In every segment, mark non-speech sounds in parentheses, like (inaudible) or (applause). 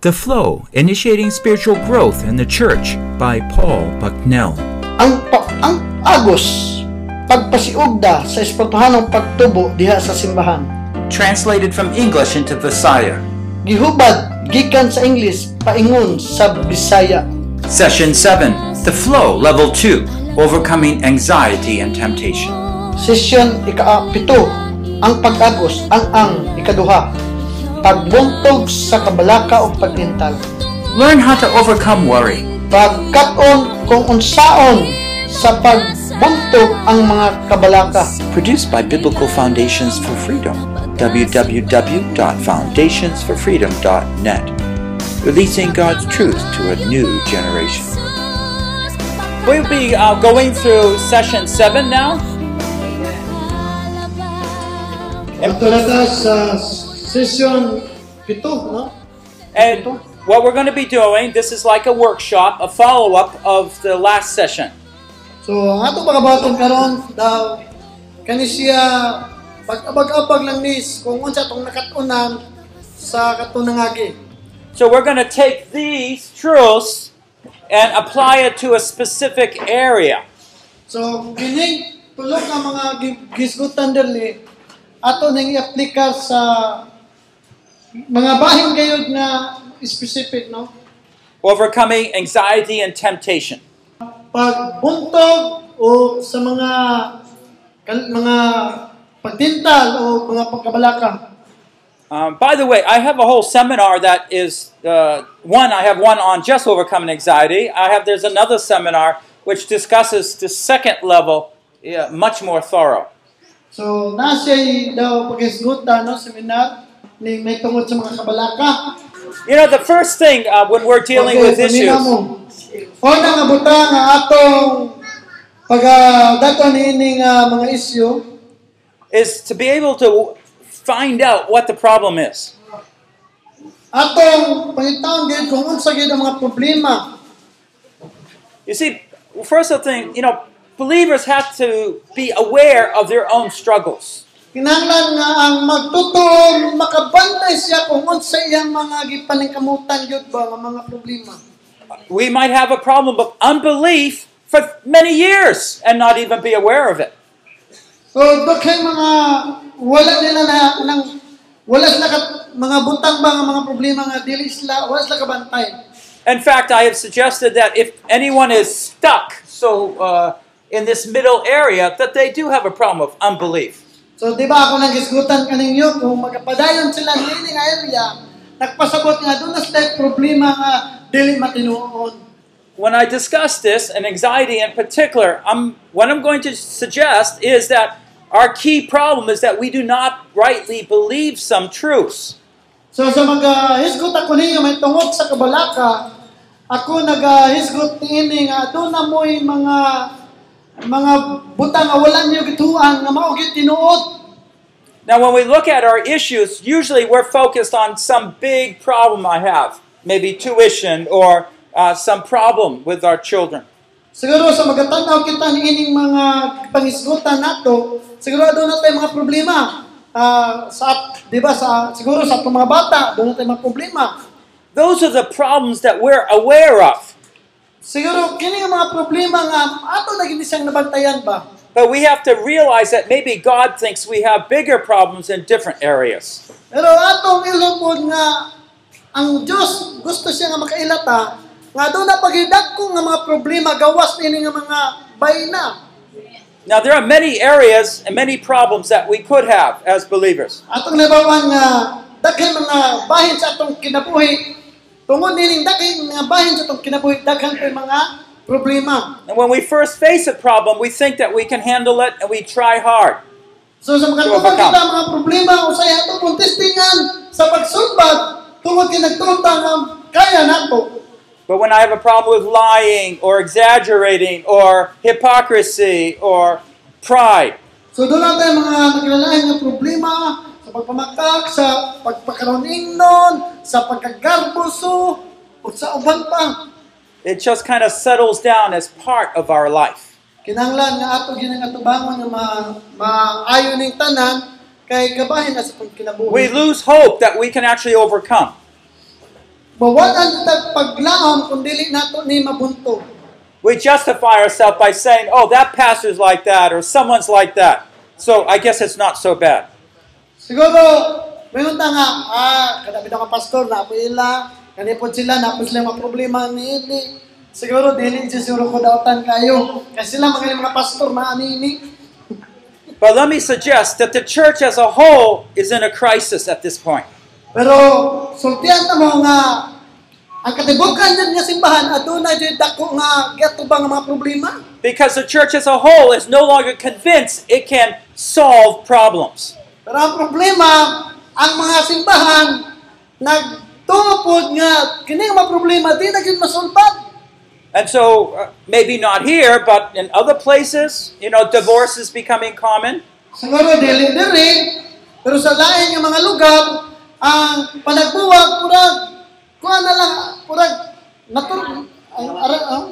The Flow Initiating Spiritual Growth in the Church by Paul Bucknell. ang pa, ang agos pagpasiugda sa espirituhanong pagtubo diha sa simbahan Translated from English into Visaya. gihubad gikan sa English paingon sa Bisaya Session 7 The Flow Level 2 Overcoming Anxiety and Temptation. session ikapito ang pag-agos ang ang ikaduha pagbuntog sa kabalaka o pagtintal Learn how to overcome worry. pagkaton kung unsaon sa pagbuntog ang mga kabalaka Produced by Biblical Foundations for Freedom. www.foundationsforfreedom.net. Releasing God's truth to a new generation. We'll be uh, going through session seven now. Ito na ta sa session pito no? And what we're going to be doing, this is like a workshop, a follow up of the last session. So, ang ato mga batong karon daw kani siya pag-abag-abag lang nis kung unsa tong nakatunan sa katunangagi. So we're going to take these truths and apply it to a specific area. So, kining tulo ka mga gi- gisgutan dali ato nang i-aplikar sa mga bahin gayud na specific no. Overcoming anxiety and temptation. Pagbuntog o sa mga kal- mga pagtintal o mga pagkabalaka. Um, by the way, I have a whole seminar that is uh, one. I have one on just overcoming anxiety. I have there's another seminar which discusses the second level, yeah, much more thorough. So, nasa'y daw pag-isguta, no, seminar, ni may tungod sa mga kabalaka. You know, the first thing uh, when we're dealing with pamina mo. issues, Una nga buta nga atong pag dato ni ini nga mga isyu, is to be able to find out what the problem is. atong pangitaon gyud kung unsa gyud ang mga problema. You see, first of the thing, you know, believers have to be aware of their own struggles. Kinahanglan nga ang magtutuo makabantay siya kung unsa iyang mga gipaningkamutan gyud ba nga mga problema. We might have a problem of unbelief for many years and not even be aware of it. So, dokay mga wala nila na nang wala sila ka, mga butang ba nga mga problema nga dili sila wala sila kabantay. In fact, I have suggested that if anyone is stuck, so uh, in this middle area, that they do have a problem of unbelief. So, di ba ako nang isgutan kaninyo kung magapadayon sila ng ini nga area, nagpasabot nga doon na sila problema nga dili matinuon. When I discuss this and anxiety in particular, I'm, what I'm going to suggest is that our key problem is that we do not rightly believe some truths. So, sa mag-isgut ako ninyo, may tungod sa kabalaka, ako nag-isgut ini nga doon na mo'y mga mga butang nga wala niyo gituan nga mao gyud tinuod. Now, when we look at our issues, usually we're focused on some big problem I have, maybe tuition or uh, some problem with our children. Siguro sa magatanaw kita ni ining mga pangisgutan nato, siguro doon na tayo mga problema. Ah, sa, di ba, sa, siguro sa atong mga bata, doon na tayo mga problema. Those are the problems that we're aware of. Siguro, kini ang mga problema nga, ato na gini siyang nabantayan ba? But we have to realize that maybe God thinks we have bigger problems in different areas. Pero atong ilungkod nga, ang Diyos gusto siya nga makailata, nga doon na pagidak ko nga mga problema, gawas ini nga mga bayna. Now, there are many areas and many problems that we could have as believers. Atong nabawan nga daghan mga bahin sa atong kinabuhi. Tungod nining daghan mga bahin sa atong kinabuhi, daghan pa mga problema. And when we first face a problem, we think that we can handle it and we try hard. So sa mga Sure, tungod bakam. kita ang mga problema usay atong kontestingan sa pagsulbad tungod kay nagtungta nga kaya nato. But when I have a problem with lying or exaggerating or hypocrisy or pride, So doon lang tayo mga nakilalain nga problema sa pagpamakak, sa pagpakaroon ingnon, sa pagkagarbuso, o sa uban pa. it just kind of settles down as part of our life. kinanglan nga ato ginangatubangon nga ma maayo ning tanan kay kabahin na sa kung We kinabuhi. lose hope that we can actually overcome. Bawatan ta paglaom kung dili nato ni mabunto. We justify ourselves by saying, oh, that pastor's like that, or someone's like that. So I guess it's not so bad. Siguro, mayon ta nga, ah, kada bitaw ka pastor, naapo ila, kani po sila, naapo sila yung mga problema ni ini. Siguro, dili siya siguro ko daotan kayo. Kasi sila mga mga pastor, maanini. But let me suggest that the church as a whole is in a crisis at this point. Pero, sultihan na mo nga, ang katibukan din nga simbahan, aduna dyan dako nga, gato ba nga mga problema? Because the church as a whole is no longer convinced it can solve problems. Pero ang problema, ang mga simbahan, nagtupod nga, kini nga mga problema, di na gyud masulbad. And so, uh, maybe not here, but in other places, you know, divorce is becoming common. Siguro dili diri, pero sa lain nga mga lugar, ang panagbuwag purag kuha na lang purag natur ay ara ah,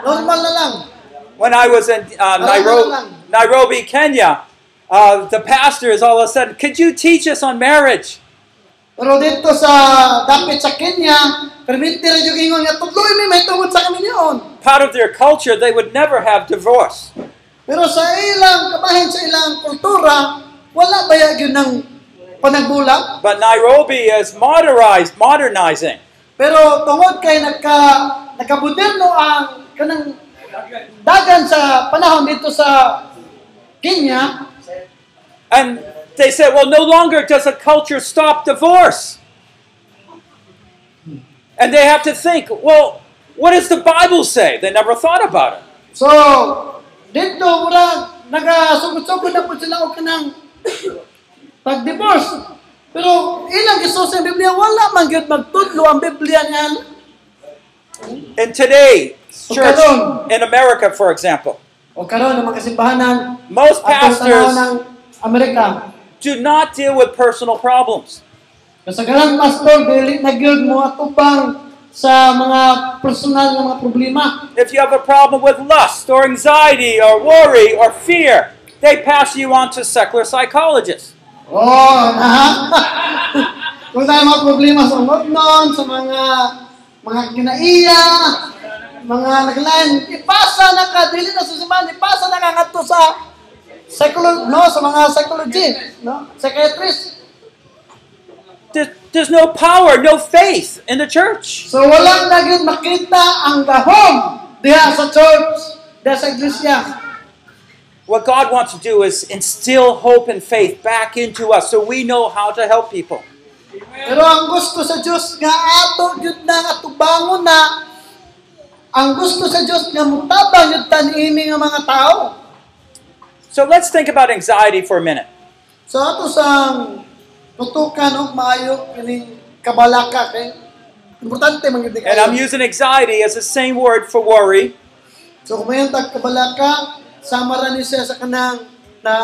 normal na lang. When I was in uh, Nairobi, Nairobi, Kenya, uh, the pastor is all of a sudden, could you teach us on marriage? Pero dito sa dapit sa Kenya, permite ra jud ingon nga tuloy may may tungod sa kami niyon. Part of their culture, they would never have divorce. Pero sa ilang kabahin sa ilang kultura, wala ba ya gyud ng panagbulag? But Nairobi is modernized, modernizing. Pero tungod kay nagka nagkamoderno ang kanang dagan sa panahon dito sa Kenya, And they said, well, no longer does a culture stop divorce. And they have to think, well, what does the Bible say? They never thought about it. so dito mura nagasugod-sugod na po sila og kanang (coughs) pag-divorce. Pero ilang gisusi ang Biblia, wala man gyud magtudlo ang Biblia nga And today, church Pagkaroon. in America, for example, o karon ang mga kasimbahanan Most atong pastors- tanawon ng Amerika. do not deal with personal problems. Kasagaran pastor dili na gyud mo atubang sa mga personal nga mga problema. If you have a problem with lust or anxiety or worry or fear, they pass you on to secular psychologists. Oh, aha. (laughs) Kung tayo mga problema sa noon, sa mga mga kinaiya, mga naglain, ipasa na ka, dili na sa simbahan, ipasa na ka nga to sa psycholo- no, sa mga psychology, no? Psychiatrist. There- There's no power, no faith in the church. So walang naging makita ang gahom diha sa church, diha sa iglesia. What God wants to do is instill hope and faith back into us so we know how to help people. Pero ang gusto sa Diyos nga ato gyud na atubangon na ang gusto sa Diyos nga mutabang yun tanini nga mga tao. So let's think about anxiety for a minute. So ato sang tutukan og maayo kining kabalaka kay importante man gyud And I'm kayo. using anxiety as the same word for worry. So kung mayon tag kabalaka sama ra ni siya sa kanang na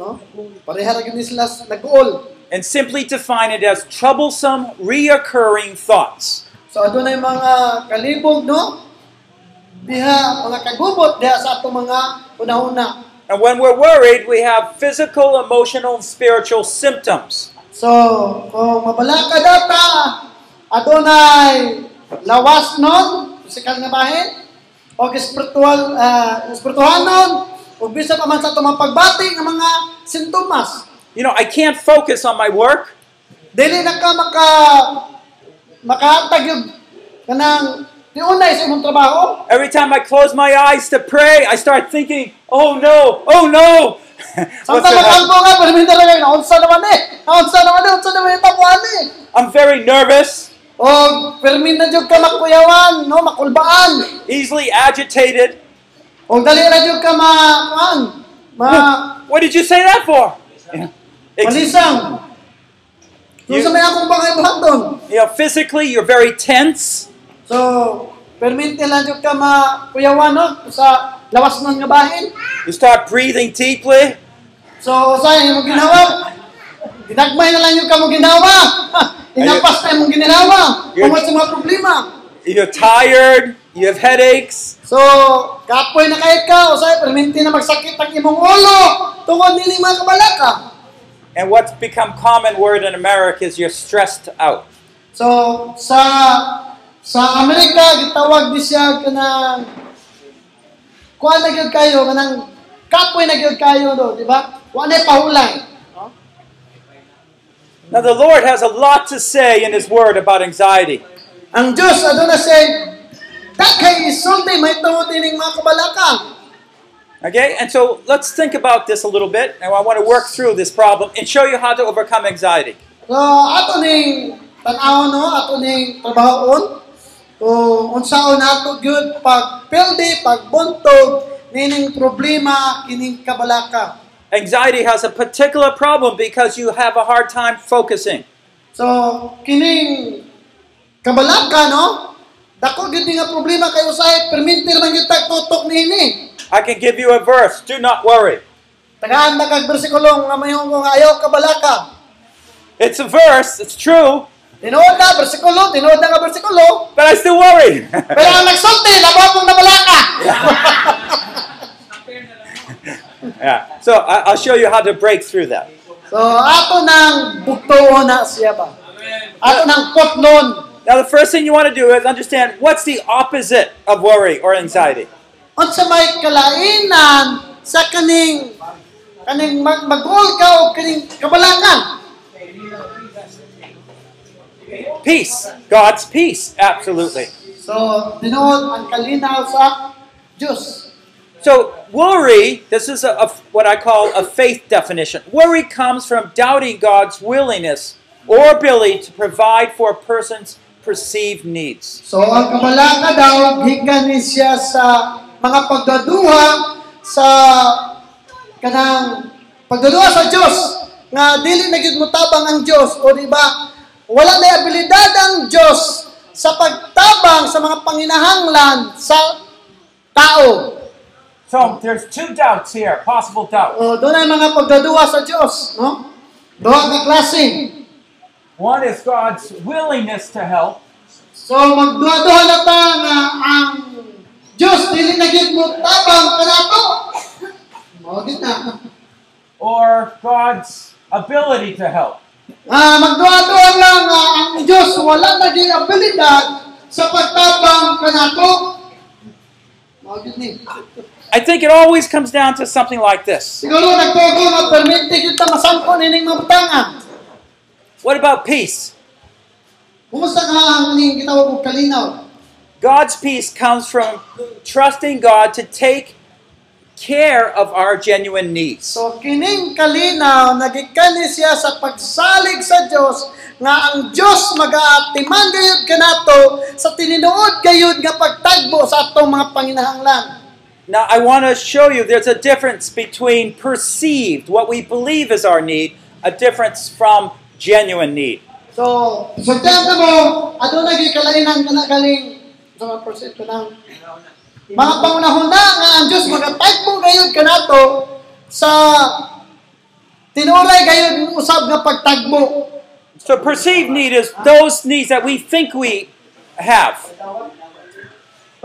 no pareha ra gyud ni sila sa- nag-uol. and simply define it as troublesome, reoccurring thoughts. So adunay mga kalibog no diha mga kagubot diha sa ato mga una-una. And when we're worried, we have physical, emotional, and spiritual symptoms. So kung mabalaka data adunay lawas nun, physical nga bahin, o espiritual uh, espirituhanon ug bisan pa man sa tumang pagbati ng mga sintomas. You know, I can't focus on my work. Dili na ka maka makahatag yung kanang tiunay sa imong trabaho. Every time I close my eyes to pray, I start thinking, oh no, oh no. (laughs) What's Samtang gonna happen? makampo nga pero minta ra naunsa naman eh. Naunsa naman eh, unsa naman itapuan eh. I'm very nervous, O perminta jud ka makuyawan, no makulbaan. easily agitated. O dali na jud ka ma kuan, ma What did you say that for? Yeah. Ex- malisang. Kung You- sa may akong bangay buhaton. you know, physically, you're very tense. So, perminte lang jud ka ma kuyawan no sa lawas ng nga bahin. You start breathing deeply. So, usay imong ginawa. Dinagmay na lang jud ka mo ginawa. Inapas na imong ginawa. You're- Tungod sa mga problema. You're tired. You have headaches. So, kapoy na kahit ka, usay perminte na magsakit ang imong ulo tungod nini mga kabalaka. And what's become common word in America is you're stressed out. So sa sa Amerika gitawag di siya kanang kuan na gyud kayo kanang kapoy na gyud kayo do, di ba? Wa na pahulan. Now, the Lord has a lot to say in His Word about anxiety. Ang Diyos aduna say dakay isulti may tungod ining mga kabalakang. Okay, and so let's think about this a little bit, and I want to work through this problem and show you how to overcome anxiety. So ato ning tan-aw no, ato ning trabahoon kung unsaon ato gyud pag pildi, pag buntog nining problema kining kabalaka. Anxiety has a particular problem because you have a hard time focusing. So, kining kabalaka, no? Dako gid ni nga problema kay usahay perminti man gyud tag tutok niini. I can give you a verse do not worry. Tagaan na kag bersikulong nga mayong kung ayaw kabalaka. It's a verse, it's true, Tinuod na bersikulo, tinuod na nga bersikulo. but I still worry. (laughs) Pero ang nagsulti, labaw mong nabalaka. Yeah. So I, I'll show you how to break through that. so, ato nang buktuon na siya ba? Ato nang potnon. Now, the first thing you want to do is understand what's the opposite of worry or anxiety. Unsa may kalainan sa kaning kaning mag magol ka o kaning kabalakan. Peace. God's peace. Absolutely. So, dinoon ang kalinaw sa Diyos. So, worry, this is a, a- what I call a faith definition. Worry comes from doubting God's willingness or ability to provide for a person's perceived needs. So, ang kabalaka daw, gikan ni siya sa mga pagdaduha sa kanang pagdaduha sa Diyos nga dili na gyud mutabang ang Diyos o di ba wala na abilidad ang Diyos sa pagtabang sa mga panginahanglan sa tao. So, there's two doubts here, possible doubts. O doon ay mga pagdaduha sa Diyos, no? Duha ka klase. One is God's willingness to help, So magduha-duha na ta nga ang Diyos dili na gyud mo tabang kanato. Mao gid na. or God's ability to help. Ah magduha-duha lang nga ang Diyos wala na gyud abilidad sa pagtabang kanato. Mao gid ni. I think it always comes down to something like this. Siguro nagtugo nga permite gyud ta masangko nining mga butangan. What about peace? Kumusta ka ang ning gitawag og kalinaw? God's peace comes from trusting God to take care of our genuine needs. So kining kalinaw nagikan ni siya sa pagsalig sa Dios nga ang Dios mag-aatiman gayud kanato sa tininuod gayud nga pagtagbo sa atong mga panginahanglan. Now, I want to show you there's a difference between perceived, what we believe is our need, a difference from genuine need. So sugdan mo aduna gyud kalainan kana galing sa percent ko nang mga pangunahuna nga ang Dios magatagbo gayud kanato sa tinuray gayud usab nga pagtagbo. So, perceived need is those needs that we think we have,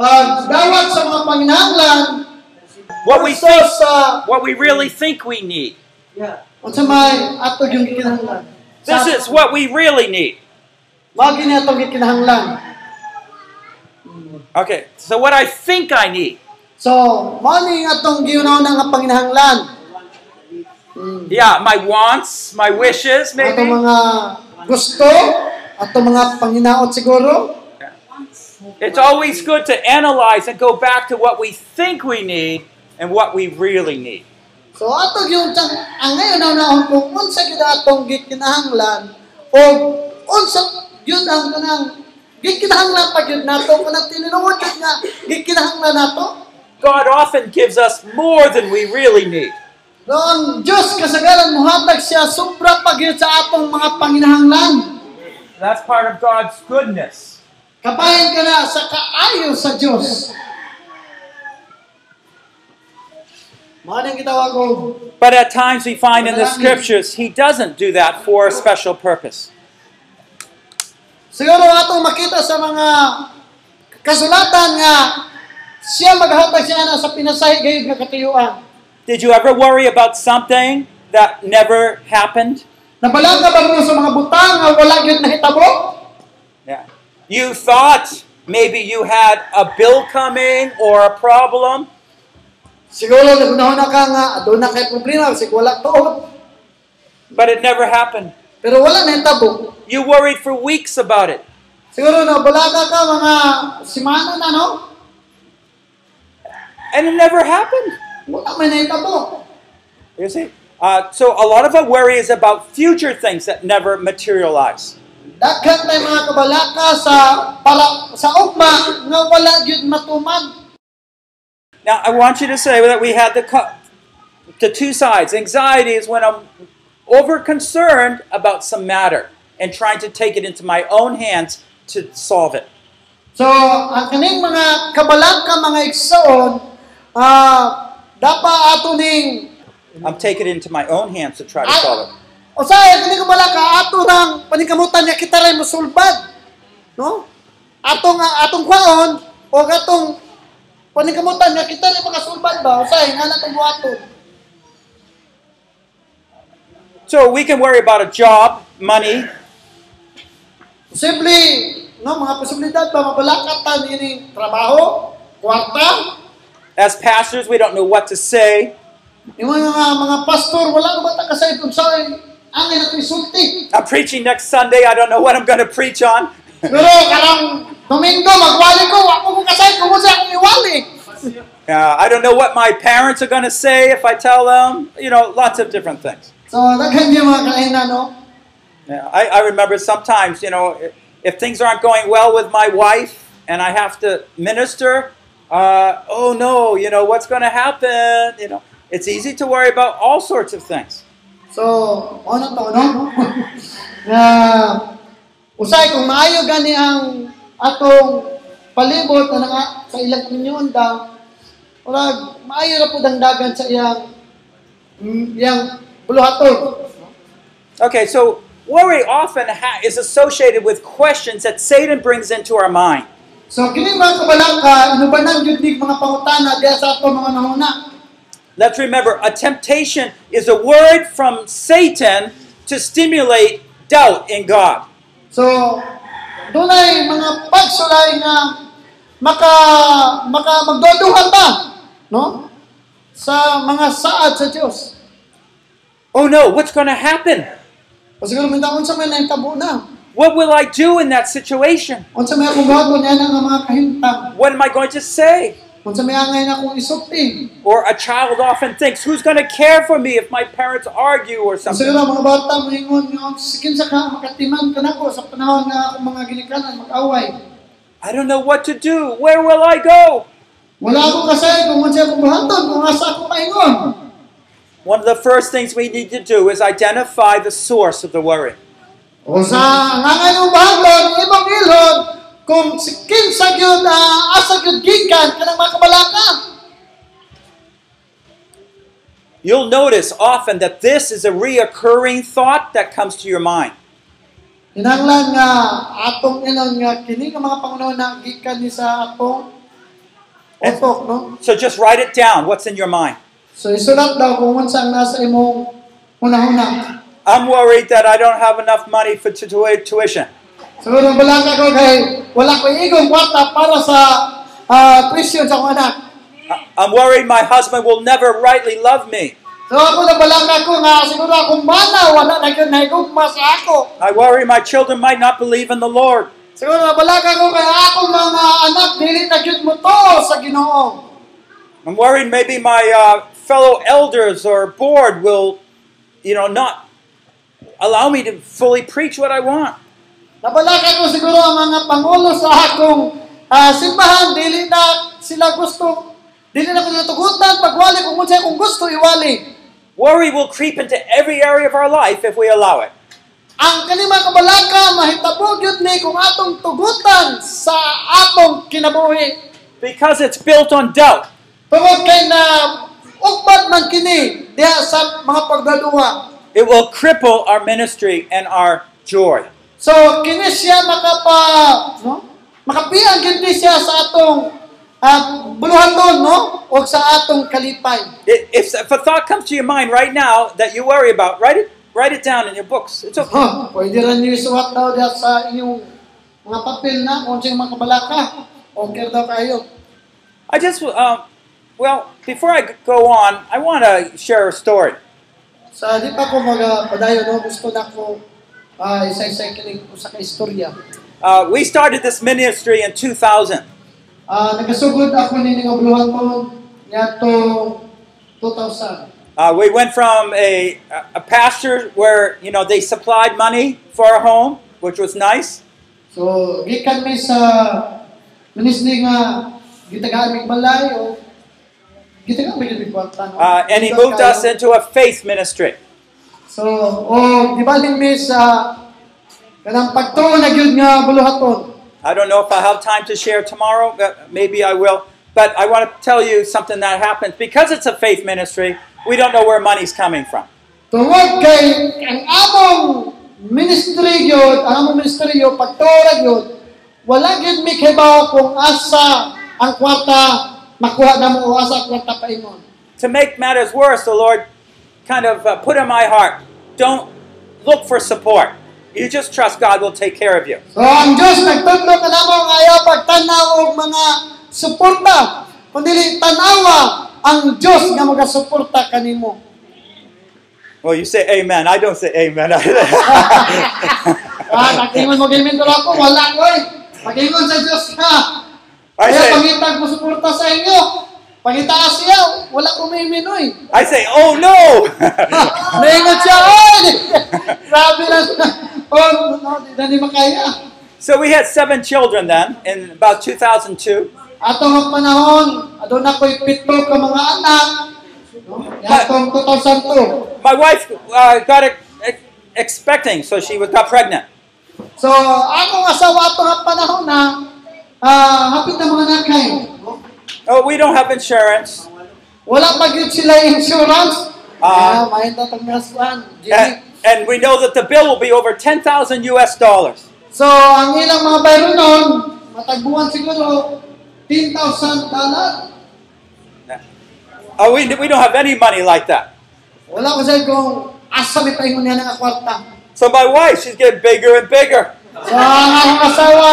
Pag dawat sa mga panginahanglan what we versus think, sa what we really think we need. Unsa may ato yung kinahanglan? This is what we really need. Magi ni atong kinahanglan. Okay, so what I think I need. So, mao ni atong giunaw na nga panginahanglan. Yeah, my wants, my wishes, Atong maybe. mga gusto, atong mga panginaot siguro. It's always good to analyze and go back to what we think we need and what we really need. So, ato yung tang ang ngayon na naon kung unsa gyud atong gikinahanglan o unsa gyud ang kanang gikinahanglan pa gyud nato kanang tininuod gyud nga gikinahanglan nato. God often gives us more than we really need. So, ang Dios kasagaran mohatag siya sobra pa gyud sa atong mga panginahanglan. That's part of God's goodness. Kabayan ka na sa kaayo sa Diyos. Maning gitawag ko. But at times we find in the scriptures, He doesn't do that for a special purpose. Siguro atong makita sa mga kasulatan nga siya maghatag siya na sa pinasahi gayud nga katuyuan. Did you ever worry about something that never happened? Nabalaga ba mo sa mga butang nga wala gyud nahitabo? Yeah. You thought maybe you had a bill coming or a problem. Siguro nagunahon na ka nga aduna na kay problema sig wala tuod. but it never happened. Pero wala na yung tabok. You worried for weeks about it. Siguro na balaga ka mga simana na no. And it never happened. Wala man na yung tabok. You see? Uh, so a lot of our worry is about future things that never materialize. Daghan tay mga kabalaka sa para sa ugma nga wala gyud matuman. Now, I want you to say that we had the, co- the two sides. Anxiety is when I'm over-concerned about some matter and trying to take it into my own hands to solve it. So ang kaning mga kabalaka mga igsoon ah dapa ato ning I'm taking it into my own hands to try to solve it. Usay kini kabalaka ato nang panikamutan nga kita ray mosulbad. No? Atong ah, atong kwaon o atong panikamutan nga kita ray makasulbad ba usay nga natong buhaton. So we can worry about a job, money, Simple, no, mga posibilidad ba mabalakatan ini trabaho, kwarta, As pastors, we don't know what to say. yung mga mga pastor wala na bata kasay kung saan ang ina isulti. I'm preaching next Sunday. I don't know what I'm going to preach on. Pero karang Domingo magwali ko, wa ko kasay kung sa akong iwali. Uh, I don't know what my parents are going to say if I tell them. You know, lots of different things. So daghan yung mga kaina no. Yeah, I, I remember sometimes, you know, if, if things aren't going well with my wife and I have to minister, uh, oh no, you know, what's going to happen? You know, it's easy to worry about all sorts of things. So, ano to, no? (laughs) na usay kung maayo gani ang atong palibot na nga sa ilang inyon daw wala maayo ra pud ang dagan sa iyang mm, iyang buluhaton. Okay, so worry often ha- is associated with questions that Satan brings into our mind. So kini mga kabalaka inubanan gyud nig mga pangutana diha sa ato mga nahuna. Let's remember a temptation is a word from Satan to stimulate doubt in God. So dunay mga pagsulay nga maka maka magduduhan ba no? Sa mga saad sa Dios. Oh no, what's going to happen? O siguro minta unsa may nang tabo na. What will I do in that situation? Unsa may akong gawon niya nga mga kahintang. What am I going to say? Unsa may angay na akong isulti. Or a child often thinks, who's going to care for me if my parents argue or Ang something? siguro mga bata moingon nga "Unsa- kinsa ka makatiman kanako sa panahon nga akong mga ginikanan mag-away. I don't know what to do. Where will I go? Wala akong kasay kung unsa akong buhaton kung asa ako maingon. One of the first things we need to do is identify the source of the worry. O sa ngangay ng buhaton ibang ilog kung si- kinsa gyud ah, asa gyud gikan kanang mga kabalaka. You'll notice often that this is a reoccurring thought that comes to your mind. Inanglan nga atong inon nga kini nga mga pangunahon gikan ni sa atong utok no. So just write it down, what's in your mind. So isulat daw kung unsa ang nasa imong una-una. I'm worried that I don't have enough money for tu- tu- tuition. So nung wala ka ko kay wala ko igong kwarta para sa ah, tuition sa akong anak. I- I'm worried my husband will never rightly love me. So ako nang wala ka ko nga siguro akong mana wala na gyud naigugma sa ako. I worry my children might not believe in the Lord. Siguro nang wala ka ko kay akong mga anak dili na gyud mo to sa Ginoo. I'm worried maybe my uh, fellow elders or board will, you know, not allow me to fully preach what I want. Nabala ka ko siguro ang mga pangulo sa akong ah, simbahan dili na sila gusto dili na ko nila tugutan pagwali kung unsa akong gusto iwali. Worry will creep into every area of our life if we allow it. ang kanima kabalaka mahitabo gyud ni kung atong tugutan sa atong kinabuhi Because it's built on doubt. tungod kay na ugmad man kini diha sa mga pagdaluha It will cripple our ministry and our joy. so kini siya makapa no makapian gyud ni siya sa atong uh, buluhaton no o sa atong kalipay It, if, if a thought comes to your mind right now that you worry about, write it, write it down in your books. It's okay. huh, pwede ra niyo isuwat daw diha sa inyong mga nga papel na kung siyang mga kabalaka. Okay daw kayo. I just, um, well, before I go on, I want to share a story. Sa di pa ko magpadayo, no? gusto na ko ah, isa-isa kiling ko sa kaistorya. Uh, we started this ministry in 2000. Ah, nagasugod ako ni nga buluhan ko niya to 2000. Uh, we went from a, a pastor where, you know, they supplied money for our home, which was nice. So, gikan mi sa ministry nga gitagaan mig balay o gitagaan mig mig kwarta. no? Uh, and he moved us into a faith ministry. So, o gibalin mi sa kanang pagtuo na gyud nga buluhaton. I don't know if I have time to share tomorrow, but maybe I will. But I want to tell you something that happened. Because it's a faith ministry, we don't know where money's coming from. Tungod kay ang among ministry yun, ang among ministry yun, pagtura yun, wala yun may kibaw kung asa ang kwarta makuha na mo o asa ang kwarta pa ingon. To make matters worse, the Lord kind of uh, put in my heart don't look for support. You just trust God will take care of you. So ang Diyos nagtudlo na namo nga ayaw pagtanaw og mga suporta, kundi tanawa ang Diyos nga magasuporta kanimo. Well, you say amen. I don't say amen. (laughs) Ah, nakingon mo gamit ko ako, wala ko eh. Pagingon sa Diyos ka. I Kaya say, pangitag mo suporta sa inyo. Pangitaas siya, wala ko may minoy. I say, oh no! (laughs) Naingat siya, oy! (laughs) Grabe lang. Oh, no, na di makaya. so we had seven children then in about 2002. Atong ang panahon, adun ako'y pito ka mga anak. No? Atong 2002. My wife uh, got ex- ex- expecting, so she was, got pregnant. So, akong asawa atong ang panahon na ah, hapit na mga nakay. No? Oh, we don't have insurance. Wala pa gyud sila insurance. Ah. Eh. Ah, mahin na itong nasuan. And, and we know that the bill will be over 10,000 US dollars. So, ang ilang mga bayro nun, matagbuhan siguro, 10,000 dollar. Uh, we, we don't have any money like that. Wala ko sa'yo kung asa may pahingon niya ng kwarta. So my wife, she's getting bigger and bigger. So, ang akong asawa,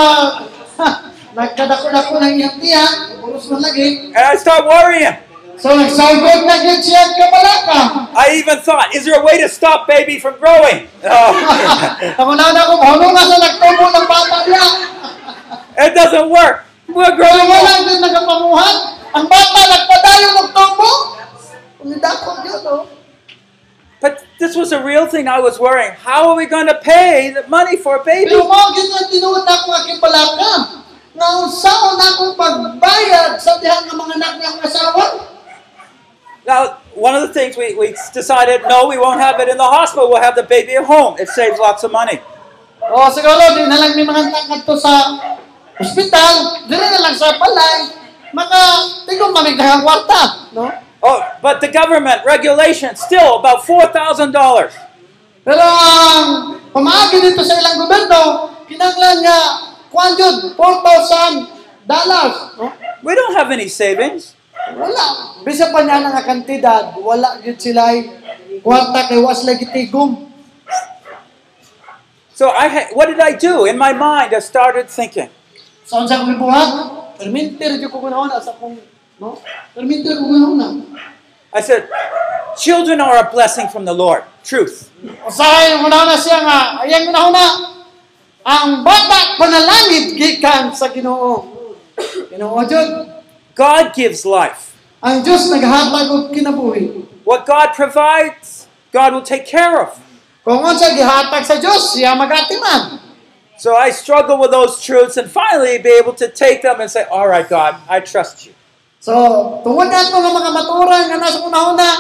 nagkadako-dako ng iyang tiyan, bulos man lagi. And I start worrying. So, nagsagod na yun siya kabalaka. I even thought, is there a way to stop baby from growing? (laughs) Oh, Ako na na kung ano na sa nagtubo ng bata niya. it doesn't work. We're Pero growing wala old. din nagapamuhan. Ang bata nagpadayo ng tubo. Ang dako yun, oh. But this was a real thing I was worrying. How are we going to pay the money for a baby? Pero mao gyud ang tinuod na akong aking balaka. Nga unsaon na akong pagbayad sa diha ng mga anak niyang asawa. Now, one of the things we, we decided, no, we won't have it in the hospital. We'll have the baby at home. It saves lots of money. O siguro, di na lang may mga tangkad to sa ospital, di na lang sa palay, maka tigong mamigdahang kwarta, no? Oh, but the government regulation still about four thousand dollars. Pero ang pamaagi dito sa ilang gobyerno, kinanglan nga kuan jud 4,000 dollars, no? We don't have any savings. Wala. Bisa pa niya nga kantidad, wala gyud sila kwarta kay was lagi tigong. So I, ha- what did I do? In my mind, I started thinking, sa unsa akong ibuhat, permintir jud ko kunahon sa akong no? Permintir ko kunahon na. I said, "Children are a blessing from the Lord. Truth. Usahay mo na siya nga, ayang kunahon na. Ang bata panalangit gikan sa Ginoo. Ginoo jud, God gives life. ang Dios naghatag og kinabuhi. What God provides, God will take care of." Kung unsa gihatag sa Dios, siya magatiman. So I struggle with those truths, and finally be able to take them and say, "All right, God, I trust you." So, tungod na ko nga mga matura nga nasa unahon na,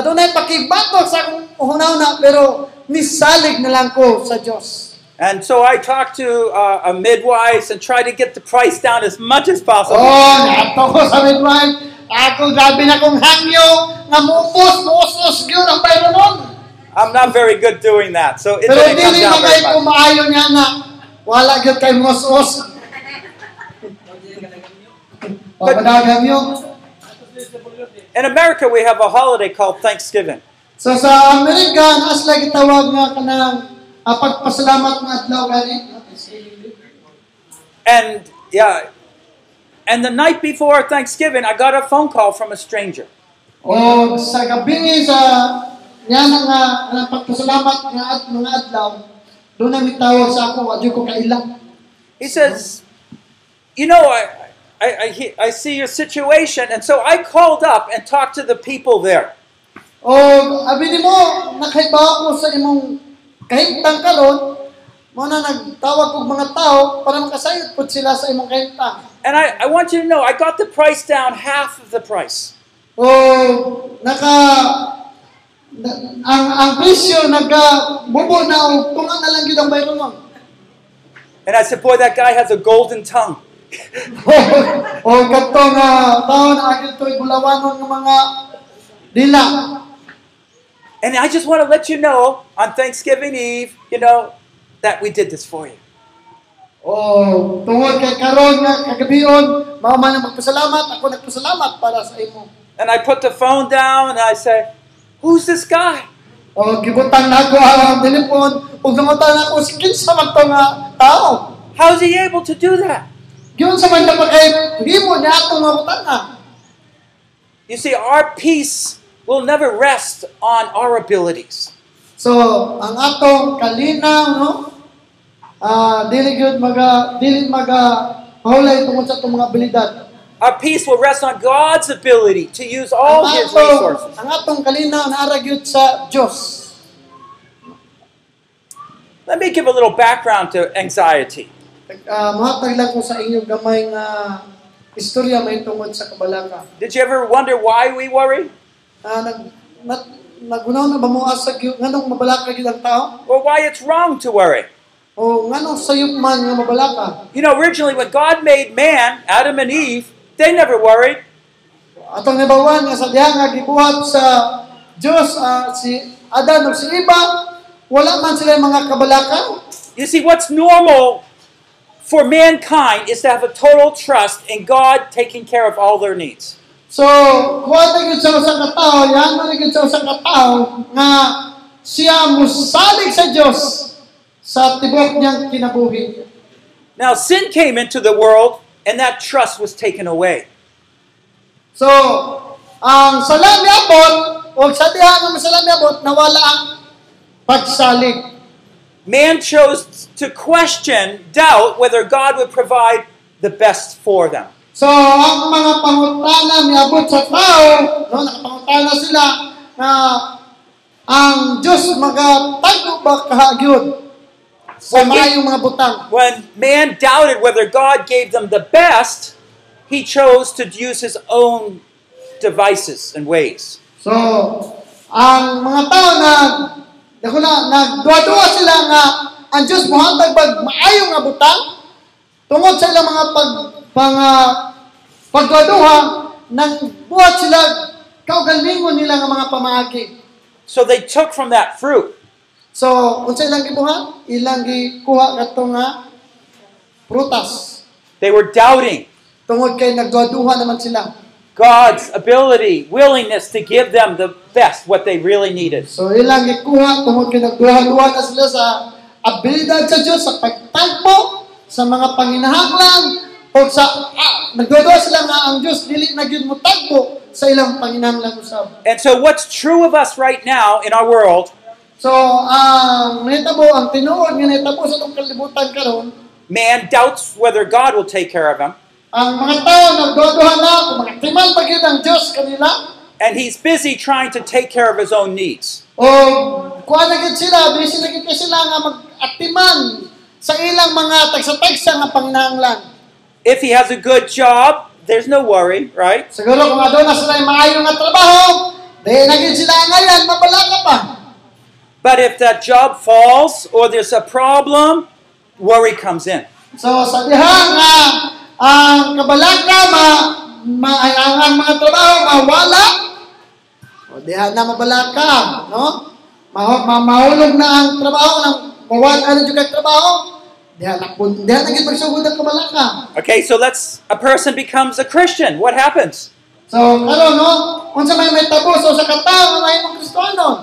adunay pakibatok sa akong unahon na, pero nisalig na lang ko sa Dios. And so I talked to uh, a midwife and tried to get the price down as much as possible. Oh, nato ko sa midwife. Ako grabe na kong hangyo nga mupos, musos gyud ang bayro nun. I'm not very good doing that, so it Pero didn't come dili na down kay very much. kumaayo niya na wala gyud kay (laughs) musos. O padagan yo. In America, we have a holiday called Thanksgiving. So sa Amerika naas lagi tawag nga kanang ah, pagpasalamat nga adlaw gani. And yeah, and the night before Thanksgiving, I got a phone call from a stranger. O sa gabi sa niya na nga ang pagpasalamat nga at mga adlaw, doon na mitawag sa ako, adyo ko kaila. He says, "You know, I, I, I, he- I see your situation, and so I called up and talked to the people there. O abi ni mo, nakahibaw ko sa imong kahintang karon, mo na nagtawag og mga tao para makasayod pud sila sa imong kahintang. And I, I want you to know, I got the price down half of the price. O naka na- ang ang presyo naga bubo na og tunga na lang gyud ang bayron mo. And I said, boy, that guy has a golden tongue. o oh, katong uh, taon agil to'y bulawanon ng mga dila. And I just want to let you know on Thanksgiving Eve, you know, that we did this for you. O Oh, tungod kay karon nga kagabion, mao man ang magpasalamat, ako nagpasalamat para sa imo. And I put the phone down and I say, who's this guy? O Oh, gibutang nako ang telepon, ug nangutan ako si kinsa man to nga ah, tao. How's he able to do that? Giun sa man dapat kay himo niya atong mabutana. You see, our peace will never rest on our abilities. So, ang atong kalinaw no? Ah, dili gyud maga dili maga hulay tungod sa atong mga abilidad. Our peace will rest on God's ability to use all ang His atong, resources. ang atong kalinaw na aragyod sa Diyos. Let me give a little background to anxiety. Uh, Mahatag lang ko sa inyong gamay nga istorya may tungod sa kabalaka. Did you ever wonder why we worry? Ah, nag, nat, nagunaw na ba mo asag yun? Nganong mabalaka yun ang tao? Or why it's wrong to worry? O nganong sayop man nga mabalaka? You know, originally when God made man, Adam and Eve, they never worried. Atong nabawan nga sa diha nga gibuhat sa Diyos ah, si Adan ug si Eva, wala man sila mga kabalaka. You see, what's normal for mankind is to have a total trust in God taking care of all their needs. So, kuha na yun sa usang katao, yan man yun sa usang katao, nga siya musalig sa Diyos sa tibok niyang kinabuhi. Now, sin came into the world, and that trust was taken away. So, ang salam ni Abot, o sa diha ng salam ni Abot, nawala ang pagsalig. Man chose to question, doubt whether God would provide the best for them. So, ang mga pangutana ni Abot sa tao, no, nakapangutana sila na ang Diyos magatago ba kahagyon sa mayong mga butang. When man doubted whether God gave them the best, he chose to use his own devices and ways. So, ang mga tao na dako na nagduwa-duwa sila nga ang Dios mohatag bag maayo nga butang tungod sa ilang mga pag pang ah, pagduwa-duwa nang buhat sila kaugalingon nila nga mga pamaagi. So they took from that fruit. So, unsa ilang gibuhat? Ilang gikuha kadto nga prutas. They were doubting Tungod kay nagduwa-duwa naman sila. God's ability, willingness to give them the best, what they really needed. So ilang ikuha tungod kay nagduha-duha na sila sa abilidad sa Dios sa pagtagpo sa mga panginahanglan o sa ah, nagduha sila nga ang Dios dili na gyud mo tagpo sa ilang panginahanglan usab. And so, what's true of us right now in our world, So ang nahitabo ang tinuod nga nahitabo sa tong kalibutan karon man doubts whether God will take care of him, ang mga tao nagduha-duha na kung mga timan pa gyud ang Dios kanila and he's busy trying to take care of his own needs. o kuha na gyud sila busy na gyud sila nga mag-atiman sa ilang mga tagsa-tagsa nga panginahanglan. If he has a good job, there's no worry, right? Siguro kung aduna sila yung maayo nga trabaho, di naging sila ngayon, mabalaka pa. But if that job falls or there's a problem, worry comes in. So sa diha nga ang kabalaka ma, ma ang, ang mga trabaho mawala. O diha na mabalaka, no? Ma, ma, mahulog na ang trabaho ng mawala na jud ang trabaho. Diha na kun diha na gyud pagsugod ang kabalaka. Okay, so let's a person becomes a Christian. What happens? So karon no, unsa may may tabo so sa katao nga mahimong Kristiyanon?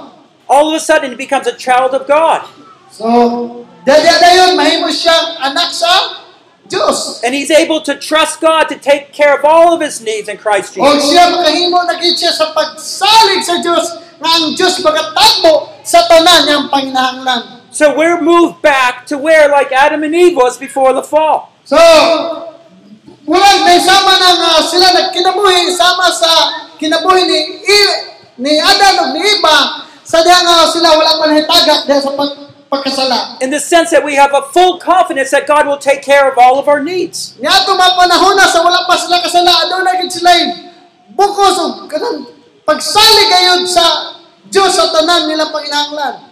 All of a sudden, he becomes a child of God. So, dadya na yun, mahimo siyang anak sa Diyos. And he's able to trust God to take care of all of his needs in Christ O Jesus. siya makahimo na gid siya sa pagsalig sa Diyos nga ang Diyos magatagbo sa tanan niyang panginahanglan. So we're moved back to where like Adam and Eve was before the fall. So, wala may sama na nga sila nagkinabuhi sama sa kinabuhi ni I- ni Adan ug ni Eva sa diha nga sila wala man hitagak diha sa pag, pagkasala. In the sense that we have a full confidence that God will take care of all of our needs. Niya ato mga panahon na sa wala pa sila kasala aduna gid sila eh. bukos og kanang pagsalig gayud sa Dios sa tanan nila panginahanglan.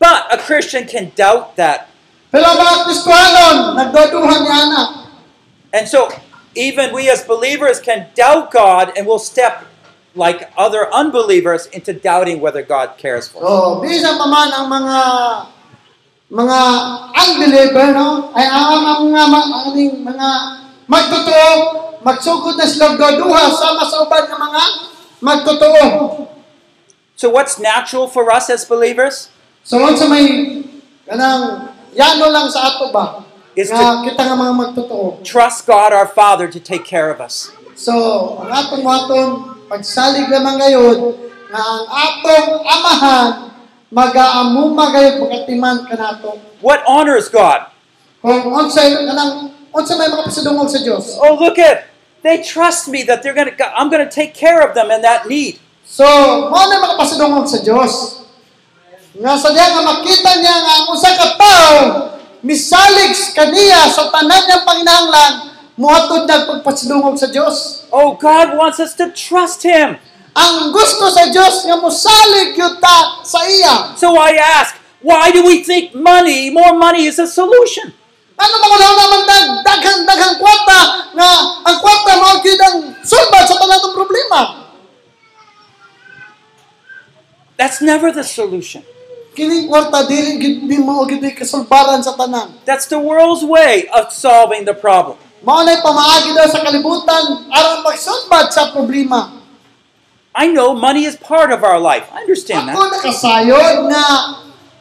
But a Christian can doubt that. Pero ang mga Kristiyanon nagduduhan ni ana. And so even we as believers can doubt God and will step like other unbelievers into doubting whether God cares for us. Oh, bisan pa man ang mga mga unbeliever, no? Ay ang ang mga ma- ang aning mga magtotoo, magsugod na sila og duha sama sa uban nga mga magtotoo. So what's natural for us as believers So unsa may kanang yano lang sa ato ba? It's nga kita nga mga magtotoo. trust God our Father to take care of us. So, ang atong waton pagsalig lamang gayud nga ang atong amahan mag-aamuma gayud pagatiman kanato. What honors God? Kung unsay kanang unsa may makapasidungog sa Dios. Oh, look at they trust me that they're gonna. I'm gonna take care of them in that need. So, mao na makapasidungog sa Dios. Nga sa diha nga makita niya nga ang usa ka tao misalig kaniya sa tanan niyang panginahanglan moatod nagpagpasidungog sa Dios. Oh, God wants us to trust Him. Ang gusto sa Dios nga mosalig gyud ta sa iya. So I ask, why do we think money, more money, is a solution? Ano ba kung naman dag, daghang daghang kwarta nga ang kwarta mao gyud ang sulbad sa tanan ng problema. That's never the solution. Kining kwarta dili gyud di mao gyud kasulbaran sa tanan. That's the world's way of solving the problem. Mao na pamaagi daw sa kalibutan aron magsunbad sa problema. I know money is part of our life. I understand Ako that. nakasayod na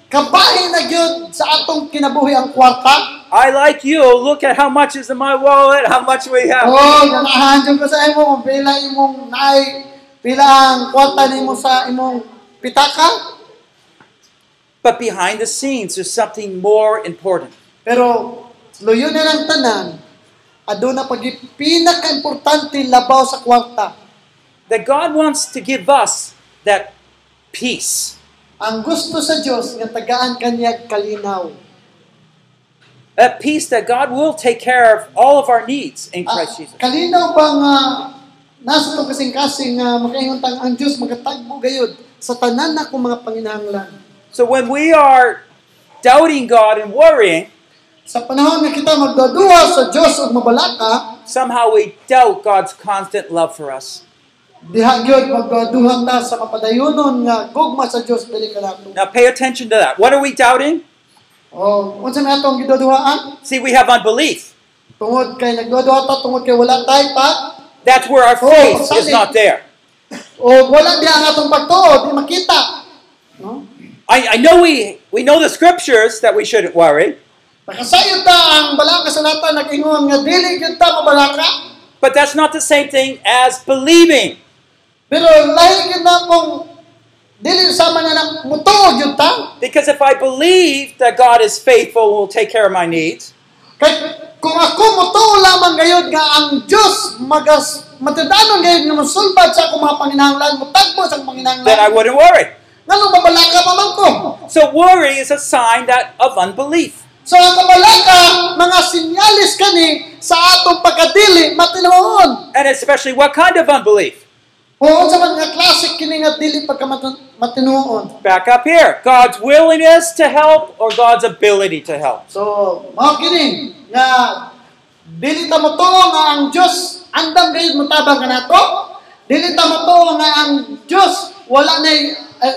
kabahin na gyud sa atong kinabuhi ang kwarta. I like you. Look at how much is in my wallet. How much we have. Oh, ganahan jud ko sa imo kung pila imong naay pila ang kwarta nimo sa imong pitaka. But behind the scenes, there's something more important. Pero luyo na lang tanan aduna pag pinakaimportante labaw sa kwarta. That God wants to give us that peace. Ang gusto sa Dios nga tagaan kaniya kalinaw. that peace that God will take care of all of our needs in Ah, Christ Jesus. Kalinaw ba nga nasa itong kasing-kasing nga makaingon tang ang Diyos magatagbo gayud sa tanan na kong mga panginahanglan. So when we are doubting God and worrying, Sa panahon nga kita magdaduha sa Diyos ug mabalaka, somehow we doubt God's constant love for us. diha gyud magdaduha ta sa kapadayonon nga gugma sa Diyos dili kanato. Now pay attention to that. What are we doubting? O unsa may atong gidaduhaan? See, we have unbelief. Tungod kay nagdaduha ta tungod kay wala tay pa That's where our Oh, faith is something. not there. o wala diha ang atong pagtuo di makita. No? I, I know we we know the scriptures that we shouldn't worry, Nakasayod ta ang balaka sa nata nag-ingon nga dili gyud ta mabalaka. but that's not the same thing as believing. Pero lahi gyud na mong dili sama na lang mutuo gyud ta. Because if I believe that God is faithful and will take care of my needs, Kay kung ako mutuo lamang gayud nga ang Dios magas matadanon gayud nga mosulbad sa akong mga panginahanglan, mutagbo sa akong then I panginahanglan. wouldn't worry. Ngano babalaka pa man ko? So worry is a sign that of unbelief. So ang kabalaka mga sinyalis kani sa atong pagkadili matinuon. And especially what kind of unbelief? O unsa man nga klase kini nga dili pagka matu- matinuon. Back up here. God's willingness to help or God's ability to help. So mao kini nga dili ta motuo nga ang Dios andam gayud motabang kanato. Dili ta motuo nga ang Dios wala nay eh,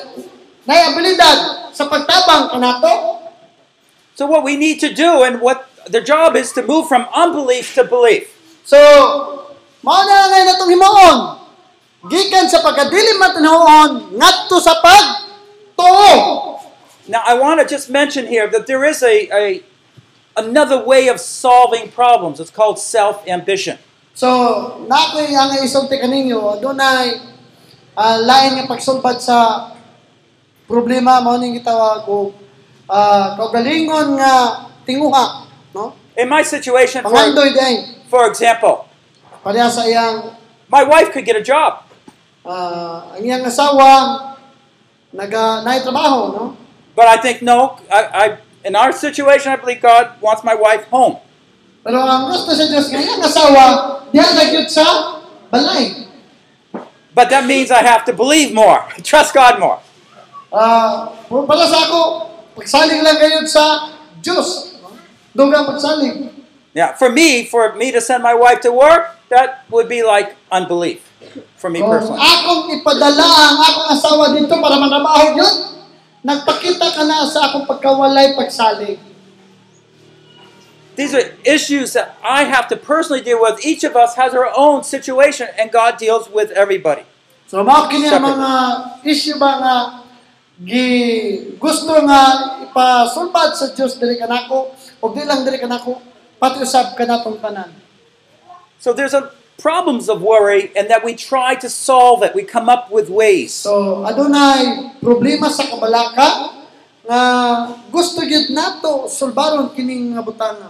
nay abilidad sa pagtabang kanato. So what we need to do and what the job is to move from unbelief to belief. So mao na lang natong himuon. Gikan sa pagkadili matinuon ngadto sa pagtuo. Now I want to just mention here that there is a, a another way of solving problems. It's called self ambition. So, nakoy ang isulti kaninyo, dunay ah, lain nga pagsulbad sa problema mao ning gitawag og ah, kaugalingon nga tinguha, no? In my situation, for, Pangandoy din for example, pareha sa iyang my wife could get a job. ah, ang iyang asawa naga naay trabaho, no? But I think, no, I, I, in our situation, I believe God wants my wife home. Pero ang gusto sa Dios nga iyang asawa diha nagyud sa balay. But that means I have to believe more, (laughs) trust God more. Ah, uh, para sa ako, pagsalig lang kayo sa Diyos. Dugang pagsalig. Yeah, for me, for me to send my wife to work, that would be like unbelief for me Kung personally. akong ipadala ang akong asawa dito para manabaho yun, nagpakita ka na sa akong pagkawalay pagsalig. These are issues that I have to personally deal with. Each of us has our own situation, and God deals with everybody. So, mao kini ang Separate. mga issue ba nga gi gusto nga ipasulbad sa Diyos diri kanako o di lang diri kanako pati usab kanatong tanan. So there's a problems of worry, and that we try to solve it. We come up with ways. So, adunay problema sa kabalaka nga gusto gyud nato sulbaron kining nga butanga.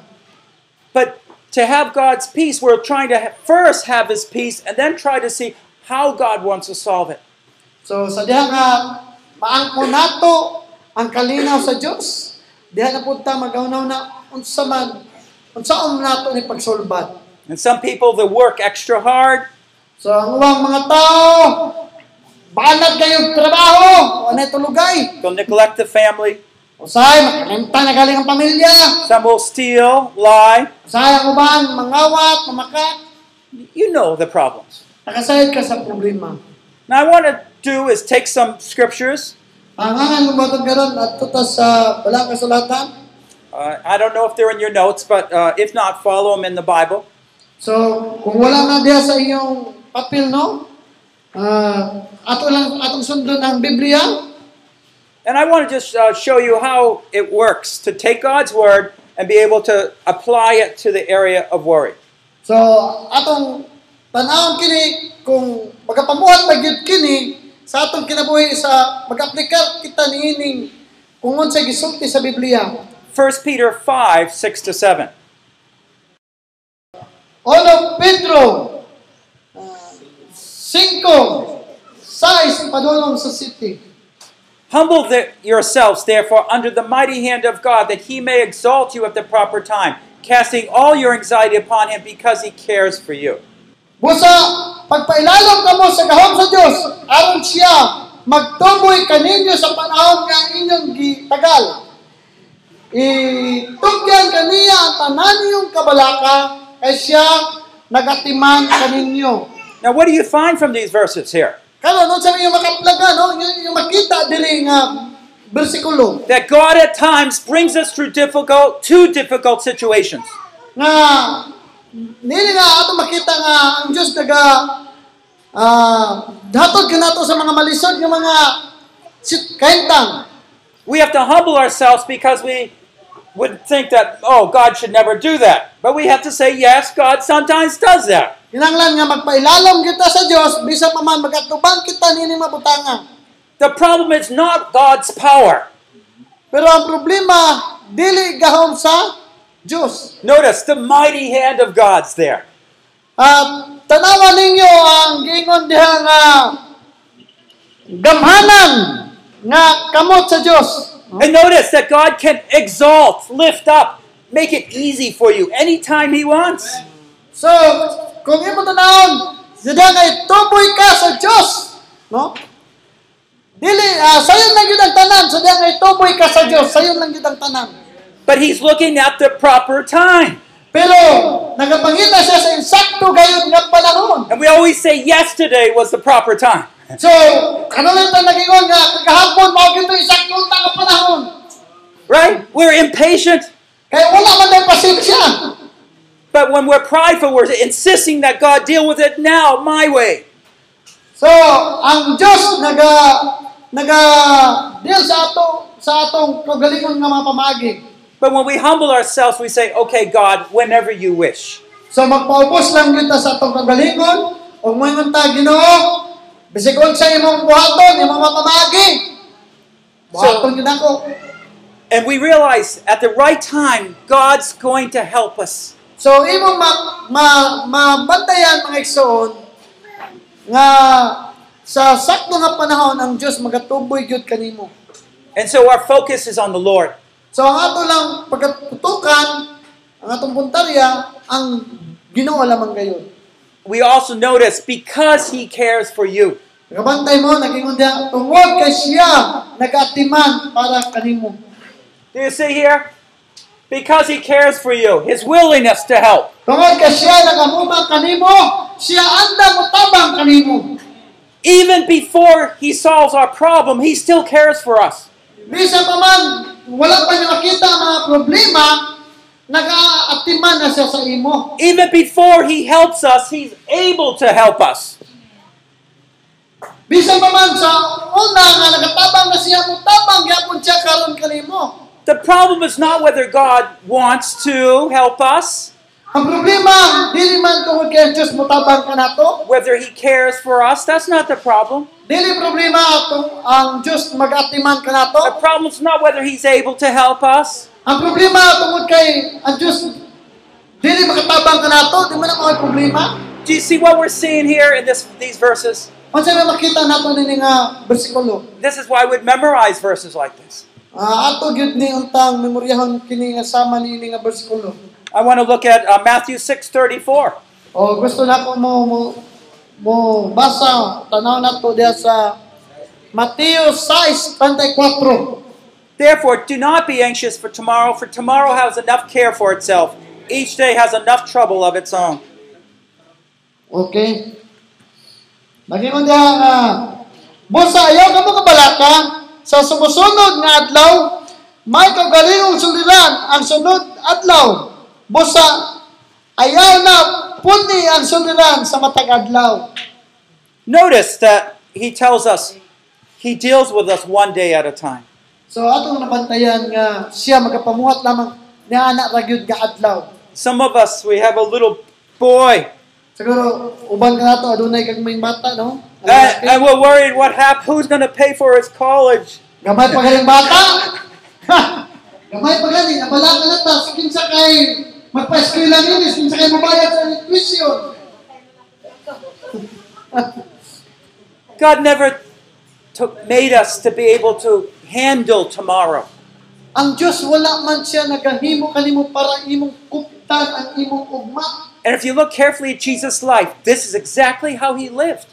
But to have God's peace, we're trying to ha- first have His peace, and then try to see how God wants to solve it. So, sa diha nga maangko nato ang kalinaw sa Dios, diha na punta magaunaw na unsa man unsaon nato ni pagsulbad. And some people that work extra hard, So, ang uwang mga tao balag kayong trabaho, anay tulugay. they'll neglect the family. Usay makalimta na galing ang pamilya. Some will steal, lie. Usay ang uban mangawat, mamakat, You know the problems. nakasayod ka sa problema. Now, I want to do is take some scriptures. Ang hangan ng matod karon at tutas sa balang kasulatan. Uh, I don't know if they're in your notes, but uh, if not, follow them in the Bible. So, kung wala na diya sa inyong papel, no? Ah, ato lang, atong sundon ang Biblia. And I want to just uh, show you how it works to take God's word and be able to apply it to the area of worry. So, atong tanawon kini kung magapamuhat ba gyud kini sa atong kinabuhi sa mag-aplikar kita niining kung unsa gisulti sa Biblia. 1 Peter 5 6 to 7. Ono Pedro ah, 5 size padulong sa city. Humble the, yourselves, therefore, under the mighty hand of God, that he may exalt you at the proper time, casting all your anxiety upon him because he cares for you. Busa, pagpailalom ka mo sa gahom sa Diyos, aron siya magtuboy kaninyo sa panahon nga inyong gitagal. Itugyan kaniya ang tanan niyong kabalaka, kay siya nagatiman kaninyo. Now, what do you find from these verses here? Karon no sa inyong makaplaga, no? Yung, yung makita dili nga bersikulo That God at times brings us through difficult, two difficult situations. nga nili nga ato makita nga ang Diyos naga ah hatod kanato sa mga malisod nga mga sit kaintang. We have to humble ourselves because we would think that, oh, God should never do that. But we have to say, yes, God sometimes does that. Kinanglan nga magpailalom kita sa Dios bisa pa man magatubang kita nini mabutanga. The problem is not God's power. Pero ang problema dili gahom sa Dios. Notice the mighty hand of God's there. At tanawa ninyo ang gingon diha nga gamhanan nga kamot sa Dios. And notice that God can exalt, lift up, make it easy for you anytime He wants. So, kung imo tanawon, sida nga ituboy ka sa Dios, no? Dili ah, sayon lang gyud ang tanan, sida nga ituboy ka sa Dios, sayon lang gyud ang tanan. But He's looking at the proper time. Pero nagapangita siya sa insakto gayon nga panahon. And we always say yesterday was the proper time. (laughs) So, ano kanulit na nagingon nga kagahapon mao gito insakto ta nga panahon. Right? We're impatient, Kaya wala man tayong pasensya. but when we're prideful, we're insisting that God deal with it now, my way. So, ang Dios naga naga deal sa ato sa atong kagalingon nga mga pamagi. But when we humble ourselves, we say, okay, God, whenever you wish. So magpaupos lang kita sa atong kagalingon, ug moingon ta Ginoo, bisig unsa imong buhaton, imong matamagi. Buhaton gyud ako. And we realize at the right time, God's going to help us. So imong ma, ma, mabantayan mga igsoon nga sa sakto nga panahon ang Dios magatuboy gyud kanimo. And so our focus is on the Lord. So ang ato lang pagkatutukan, ang atong puntarya ang Ginoo lamang kayo. We also notice because He cares for you. Nagabantay mo, naging unda, tungod kay siya, nagatiman para kanimo. Do you see here? Because He cares for you, His willingness to help. Tungod kay siya, nagamuma kanimo, siya anda mo tabang kanimo. Even before He solves our problem, He still cares for us. Bisa pa man, wala pa niya makita ang mga problema, nagaatiman na siya sa imo. Even before He helps us, He's able to help us. Bisa pa man sa una nga nagatabang na siya mo tabang, yapon siya karon kanimo. The problem is not whether God wants to help us, Ang problema, dili man tungod kay Diyos mo tabang ka nato. whether He cares for us. That's not the problem. Dili problema atong ang Diyos magatiman ka nato. The problem's not whether He's able to help us. Ang problema tungod kay ang Diyos, dili makatabang ka nato, di man ang mga problema. Do you see what we're seeing here in this, these verses? Kung saan makita nato ni nga bersikulo, This is why we'd memorize verses like this. Ah, ato gyud ni untang memoryahon kini nga sama ni nga bersikulo. I want to look at uh, Matthew 6:34. O gusto na ko mo mo, mo basa tanaw nato diha sa Mateo 6:34. Therefore, do not be anxious for tomorrow, for tomorrow has enough care for itself. Each day has enough trouble of its own. Okay. Nagingon diha nga Busa ah. ayaw ka mo kabalaka sa sumusunod nga adlaw may kagalingong suliran ang sunod adlaw. Busa ayaw na puni ang suliran sa matag adlaw. Notice that he tells us he deals with us one day at a time. So atong nabantayan nga siya magapamuhat lamang niya anak ra gyud nga adlaw. Some of us we have a little boy Siguro uban ka nato adunay kag may bata no? and, Ang lalaki. and we're worried what happened who's going to pay for his college? Gamay pa galing bata. (laughs) Gamay pa galing. Abala ka na ta. Sa kinsa kay magpa-eskwela nini. Sa kinsa kay mabayad sa tuition. (laughs) God never took made us to be able to handle tomorrow. Ang Diyos wala man siya nagahimo kanimo para imong kuptan ang imong ugma. And if you look carefully at Jesus' life, this is exactly how he lived.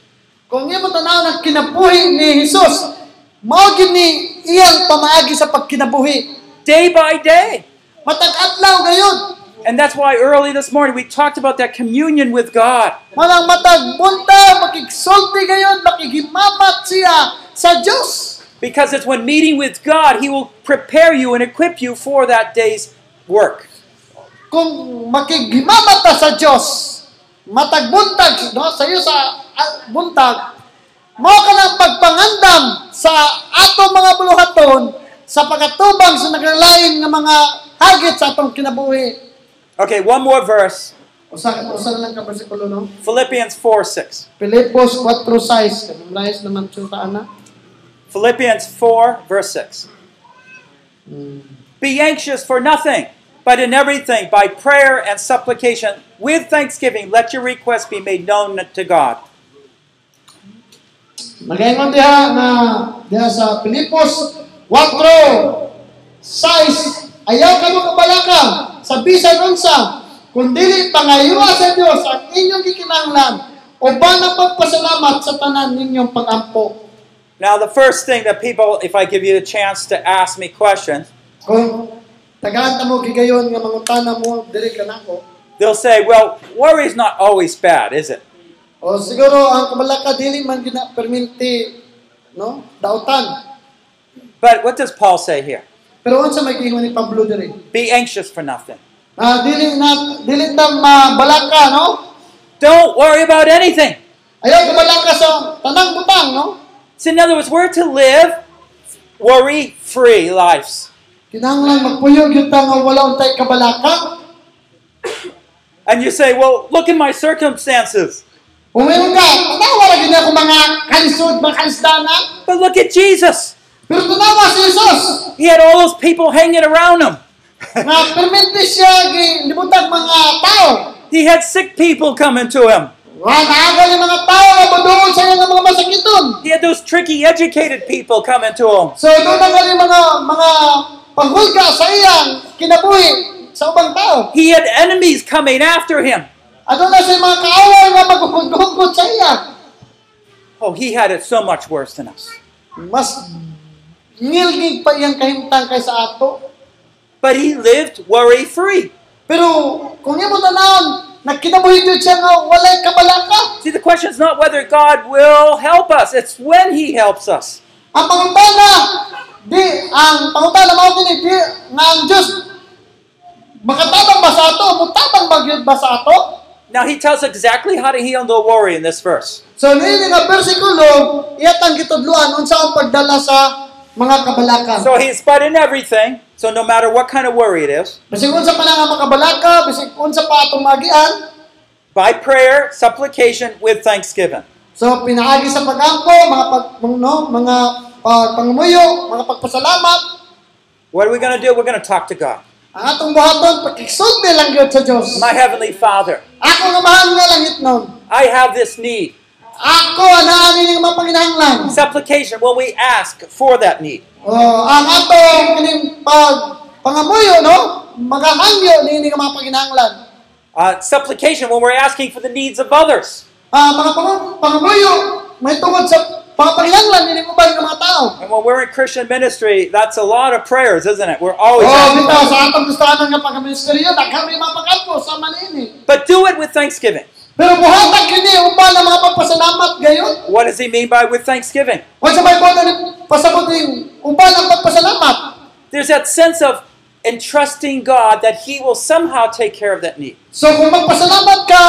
Kung imo tanaw ang kinabuhi ni Jesus, mao gyud ni iyang pamaagi sa pagkinabuhi. Day by day. Matag adlaw gayon. And that's why early this morning we talked about that communion with God. Manang matag bunta, makigsulti gayon, makigimamat siya sa Diyos. Because it's when meeting with God, he will prepare you and equip you for that day's work. kung makigimamata sa Diyos, matagbuntag, no, sa iyo sa ah, buntag, mao ka ng pagpangandam sa ato mga buluhaton sa pagkatubang sa naglalain ng mga hagit sa atong kinabuhi. Okay, one more verse. Usa usa na lang ka bersikulo no. Philippians 4 6. Filipos 4:6, kamlayas naman sa ana. Philippians 4, verse 6. Be anxious for nothing, but in everything, by prayer and supplication, with thanksgiving, let your requests be made known to God. Magayon diha na diha sa Pilipos 4 6 Ayaw kamo kabalaka sa bisan unsa kundi pangayuha sa Dios ang inyong gikinahanglan uban ang pagpasalamat sa tanan ninyong pagampo. Now, the first thing that people, if I give you the chance to ask me questions, Kung tagahan ta mo gigayon nga mangutana mo diri kanako they'll say, well, worry is not always bad, is it? o siguro ang kabalaka dili man gina perminti no dautan. But what does Paul say here? Pero unsa may giingon ni Pablo diri? Be anxious for nothing. Ah dili na dili ta mabalaka no? Don't worry about anything. Ayaw gumalang ka sa oh. tanang butang, no? So, in other words, we're to live worry free lives. Kinahanglan magpuyog yun ta nga wala untay kabalaka. And you say, well, look at my circumstances. Umiyon ka, tanawa lagi na ako mga kalisod, mga kalisdanan. But look at Jesus. Pero tanawa si Jesus, He had all those people hanging around him. nga permente siya gilibutan mga tao. He had sick people coming to him. Nga naagal yung mga tao nga madungol sa iyang mga masakiton. He had those tricky, educated people coming to him. So doon ang yung mga mga panghulga sa iyang kinabuhi sa ubang tao. He had enemies coming after him. Ano na sa mga kaaway nga magkukunggod sa iyang. Oh, he had it so much worse than us. Mas ngilgig pa iyang kahimtang kaysa ato. But he lived worry free. Pero kung imo tanawon, nakinabuhi jud siya nga walay kabalaka. See, the question is not whether God will help us, it's when he helps us. Ang pangutana di ang pangutana mao kini di nga ang Dios makatabang ba sa ato? Mutabang ba gyud ba sa ato? Now, he tells exactly how to heal the worry in this verse. So niini nga bersikulo iyatang gitudloan unsa ang pagdala sa mga kabalaka. So, So, he's but in everything. So, no matter what kind of worry it is, bisig unsa pa lang ang makabalaka, bisig unsa pa atong magian. by prayer, supplication, with thanksgiving. So pinaagi sa pagampo, mga pag, no, mga uh, pangumuyo, mga pagpasalamat, What are we going to do? We're going to talk to God. ang atong buhaton pakigsulti lang gyud sa Dios. My Heavenly Father, Ako nga mahal nga langit nun. I have this need. Ako anaanin ang mapanginahanglan. Supplication, will we ask for that need? Oh, ang atong kining pag pangamuyo no, magahangyo niini nga mapanginahanglan. Uh, supplication, when we're asking for the needs of others. Ah, mga pangu- pangamuyo may tungod sa pangapanginahanglan niini ko ba nga mga tao? And when we're in Christian ministry, that's a lot of prayers, isn't it? We're Oh, always asking. bitaw sa atong gustahan nga pagkaministeryo, daghang may mapakampo sa manini. But do it with thanksgiving. Pero buhatan kini uban ang mga pagpasalamat gayon. What does he mean by with thanksgiving? Kung sa Bible na pasabutin, uban ang pagpasalamat. There's that sense of entrusting God that he will somehow take care of that need. So kung magpasalamat ka,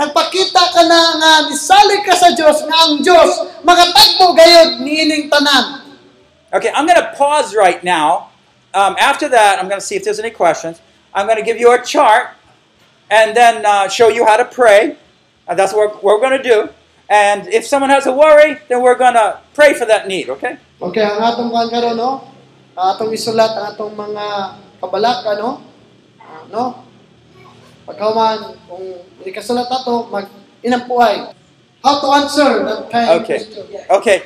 nagpakita ka na nga nisalig ka sa Dios nga ang Dios magatagpo gayod niining tanan. Okay, I'm going to pause right now. Um, after that, I'm going to see if there's any questions. I'm going to give you a chart and then uh, show you how to pray. Uh, that's what we're, going to do. And if someone has a worry, then we're going to pray for that need, okay? Okay, ang atong kuan karon no. Ang atong isulat ang atong mga kabalaka no. Ah, No. Pagkaman kung hindi ka sulat ato mag inampuay. How to answer that kind of Okay. question. Okay.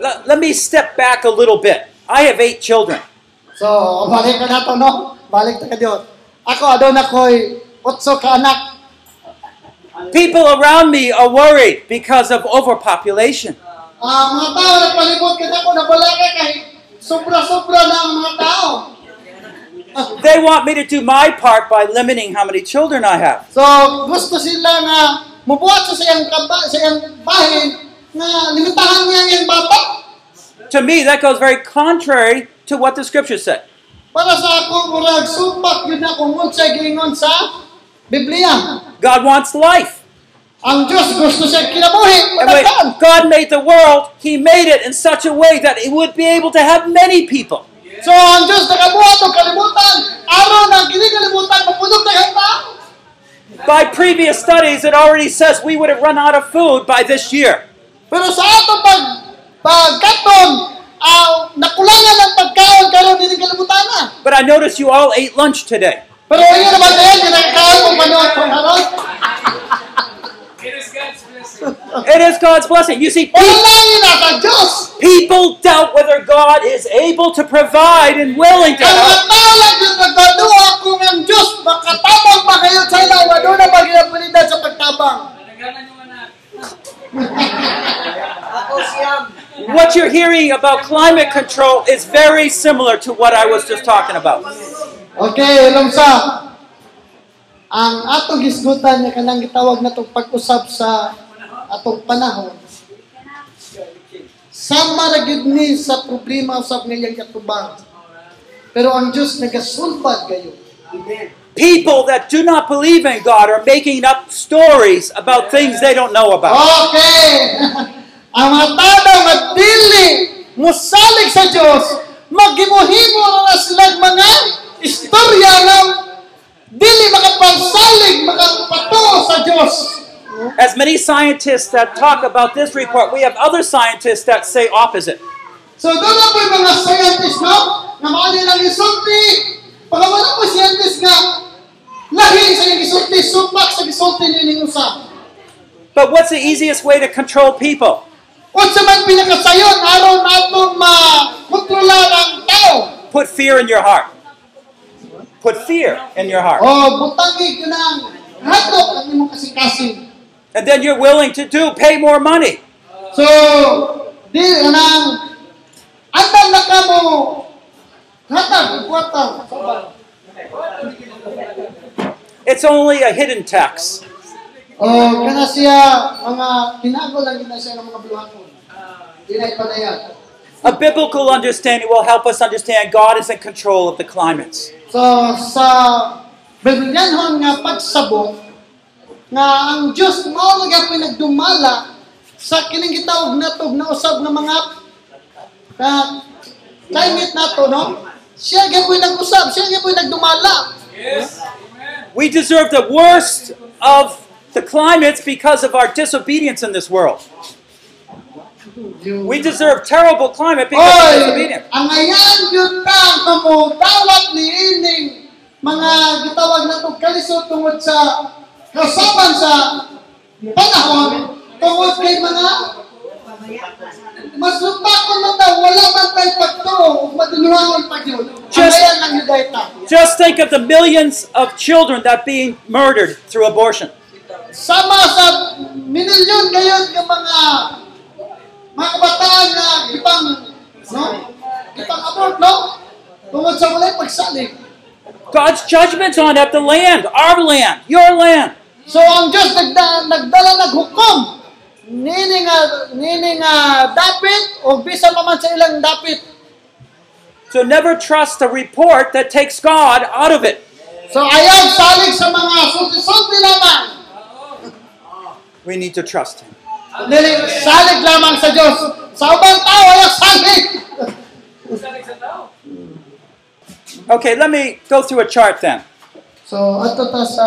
Let, let me step back a little bit. I have eight children. So, balik ka na to, no? Balik na ka diyon. Ako, adon ako'y otso ka anak. People around me are worried because of overpopulation. Ah, mga tao na palibot ka na ko, nabalaka kay sobra-sobra na ang mga tao. They want me to do my part by limiting how many children I have. So, gusto sila nga mubuhat sa siyang, kaba, sa iyang bahin na limitahan niya ang iyang bata. To me, that goes very contrary to what the scriptures say. Para sa ako, murag sumpak yun na kung unsay giingon sa Biblia. God wants life. Ang Diyos gusto siya kinabuhi. And when Pagkakan. God made the world, He made it in such a way that it would be able to have many people. So ang Diyos nakabuhat o kalimutan, araw na kinikalimutan, mapunod na kayo tao. By previous studies, it already says we would have run out of food by this year. Pero sa ato pag pagkaton, uh, nakulangan ang pagkaon karon hindi kalimutan na. But I notice you all ate lunch today. Pero yun naman na yan, kinakaon kung manood kung ano. haron. It is God's blessing. You see, Wala pe- lang yun sa Diyos. people doubt whether God is able to provide and willing to Ang mga help. tao lang yung nagkaduwa kung ang Diyos makatabang ba kayo sa ilaw, ano na ba ginapulidad sa pagtabang? What you're hearing about climate control is very similar to what I was just talking about. Okay, alam sa ang atong gisgutan nga kanang gitawag na itong pag-usap sa atong panahon. Sama ra gyud ni sa problema usab nga iyang yatubang. Pero ang Dios nagasulbad kayo. People that do not believe in God are making up stories about things they don't know about. (laughs) Okay. ang mga tao nga dili mosalig sa Dios maghimuhimo na na sila mga istorya nga dili makapansalig makapato sa Dios. As many scientists that talk about this report, we have other scientists that say opposite. So doon na po yung mga scientist no nga mao nilang isulti pagawala po scientist nga lahi sa ilang isulti supak sa isulti nining usa. But what's the easiest way to control people? Unsa man pinakasayon aron nato ma kontrolar ang tao. Put fear in your heart. Put fear in your O heart. butangi kanang hatok ang imong kasing-kasing. And then you're willing to do, pay more money. So, di nang andan na ka mo hatag kwarta. It's only a hidden tax. O kana siya mga tinago lang gina siya ng mga bluhakon. Dinay panayag. A biblical understanding will help us understand God is in control of the climates. So sa Bibelyanhon nga pagsabot nga ang Dios mao nga ako'y nagdumala sa kining gitawag natog na usab nga mga na climate nato no siya gyud nag-usab siya gyud nagdumala We deserve the worst of the climates because of our disobedience in this world. We deserve terrible climate because of Oy, disobedience. ang ayan yun na ang tumutawag ni Ining mga gitawag na itong kalisod tungod sa kasaban sa panahon tungod kay mga masupakon na daw wala man tayo pagtuo ug madulungan pag yun. Ang Just- ayan lang yun dahil ta. Just think of the millions of children that being murdered through abortion. Sama sa minilyon ngayon ng mga mga kabataan na ipang no? Ipang abort, no? Tungod sa walay pagsalig. God's judgment's on at the land, our land, your land. So ang Diyos nagda, nagdala naghukom nini nga nini nga dapit o bisan pa man sa ilang dapit. So never trust a report that takes God out of it. So ayaw salig sa mga sulti-sulti lamang. We need to trust Him. Dili salig lamang sa Diyos. Sa ubang tao ayaw salig. (laughs) Okay, let me go through a chart then. So ato ta sa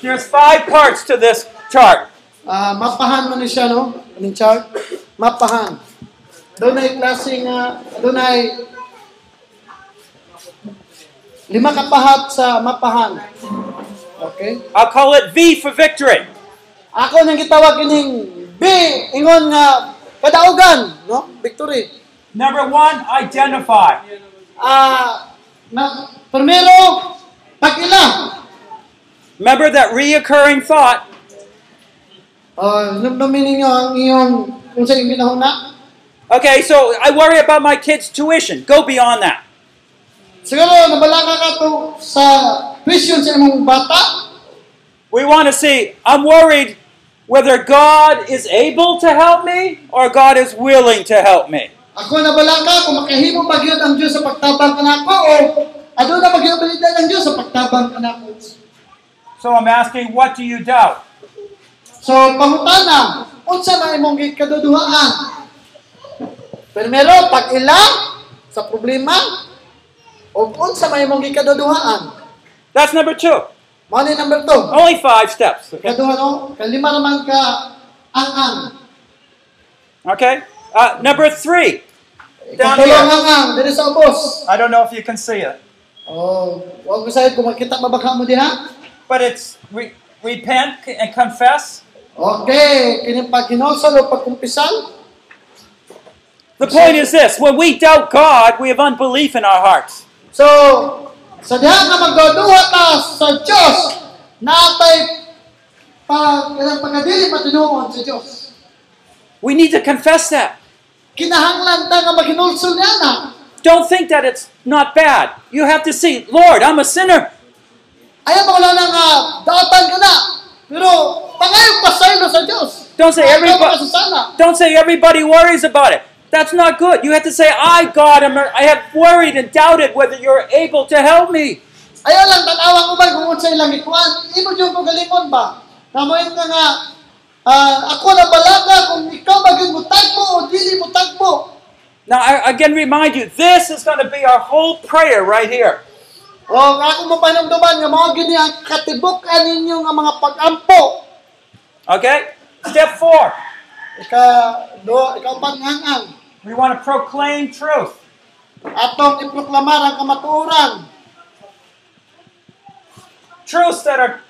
There's five parts to this chart. ah, mapahan man ni siya no, ning chart. Mapahan. Dunay klase nga dunay lima ka pahat sa mapahan. Okay? I'll call it V for victory. Ako nang gitawag ining B, ingon nga kadaugan, no? Victory. Number one, identify. Ah, na primero pagila. Remember that reoccurring thought Oh, numdumin ninyo ang iyong unsa imong ginahuna. Okay, so I worry about my kids' tuition. Go beyond that. Siguro nabala ka ka to sa question sa imong bata. We want to see, I'm worried whether God is able to help me or God is willing to help me. Ako nabala ka kung makahimo ba gyud ang Dios sa pagtabang kanako o aduna ba gyud balita ang Dios sa pagtabang kanako. So I'm asking, what do you doubt? So pangutana, unsa na imong gikaduduhaan? Primero pag-ila sa problema o unsa may imong gikaduduhaan? That's number two. Mao ni number 2. Only five steps. Kaduha no, kalima naman ka ang ang. Okay? Uh, number three. Down Katulong here. ang ang diri sa ubos. I don't know if you can see it, Oh, wag mo sayad kung makita ba baka mo diha. but it's re- repent and confess. Okay, kini pag hinulsol o pagkumpisal. The point is this when we doubt God, we have unbelief in our hearts. So, sa diha nga magduduha ta sa Dios, natay pa kanang pagkadili patinuon sa Dios. We need to confess that. kinahanglan ta nga maghinulsol niya na. Don't think that it's not bad. You have to see, Lord, I'm a sinner. Ayaw ba wala na nga daotan ka na. Pero pangayong pasaylo sa Diyos. Don't say Ayaw everybo- ka makasasala. Don't say everybody worries about it. That's not good. You have to say, I, God, am, I have worried and doubted whether you're able to help me. Ayaw lang tanawang uban kung unsay ilang ikuan. Imo jud ko galingon ba? Kamoy nga nga ah, ako na balaga kung ikaw ba gyud mutagbo o dili mo tagbo. Now, I again remind you, this is going to be our whole prayer right here. O Oh, nga akong mapanamduman nga mao gini ang katibuk-an ninyo nga mga pag-ampo. Okay? Step four, Ika do ikaw pangangang we want to proclaim truth. atong iproklamar ang kamatuoran. Truths that are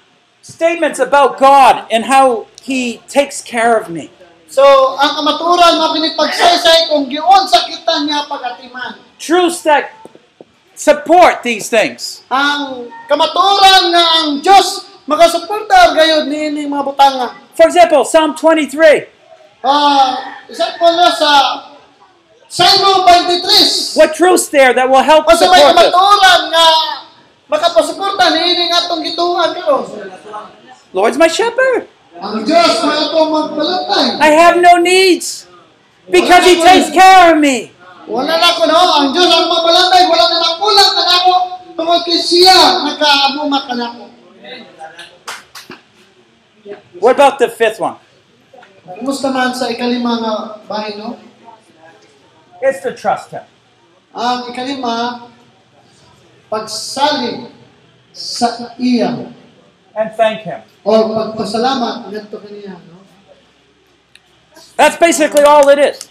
statements about God and how He takes care of me. So ang kamatuoran mao gini pagsaysay kung giunsa kita niya pagatiman. Truths that support these things. Ang kamatuoran nga ang Dios magasuporta gayud niini mga butanga. For example, Psalm 23. Ah, isa ko na sa Salmo 23. What truths there that will help O sa may support this? kamatuoran nga makapasuporta niini nga atong gituan karon. Lord's my shepherd. Ang Diyos na itong magpalantay. I have no needs because He takes care of me. Wala na ko no. Ang Diyos ang magpalantay. Wala na lang kulang na ako. Tungkol kay siya, nagkaabuma ka na ako. What about the fifth one? Kumusta man sa ikalima nga bahay no? It's to trust Him. Ang ikalima, pagsalig sa iya and thank Him. o pagpasalamat ngadto kaniya no. That's basically all it is.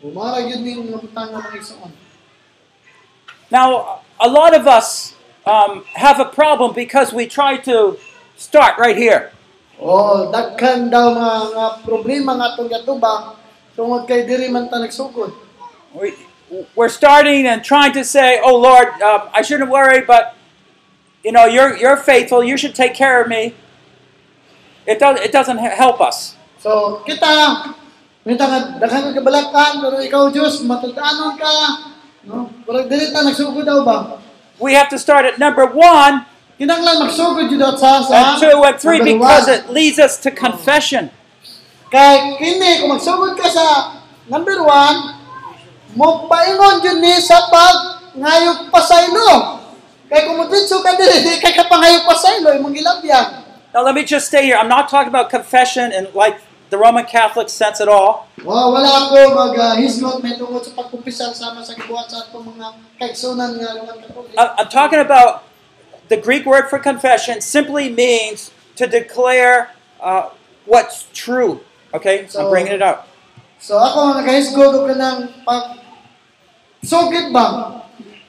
Bumara gyud ning mga butang nga mga igsoon. Now, a lot of us um, have a problem because we try to start right here. Oh, daghan daw mga, nga problema nga atong yatubang tungod kay diri man ta nagsugod. We, we're starting and trying to say, "Oh Lord, um, I shouldn't worry, but you know, you're you're faithful. You should take care of me." It does it doesn't he- help us. So, kita, kita nga, daghan ka kabalakan, pero ikaw, Diyos, matutaanon ka. No? Pero dili ta nagsugod daw ba? We have to start at number one Kinanglan magsugod jud daw sa sa and Uh, two and three number because one. it leads us to confession. Kay kini, kung magsugod ka sa number one, magpaingon jud ni sa pag ngayog pasaylo. Kay kung mutitso ka dili, (laughs) di ka kapangayog pasaylo, imong gilabyan. Now let me just stay here. I'm not talking about confession in like the Roman Catholic sense at all. Wow, wala ako mag-hisgot may tungod sa pagkumpisal sama sa gibuhat sa atong mga kaigsunan nga luman katulik. I- I'm talking about the Greek word for confession simply means to declare uh, what's true. Okay, so I'm So- bringing it up. So ako nagahisgod ko ng pag sugid ba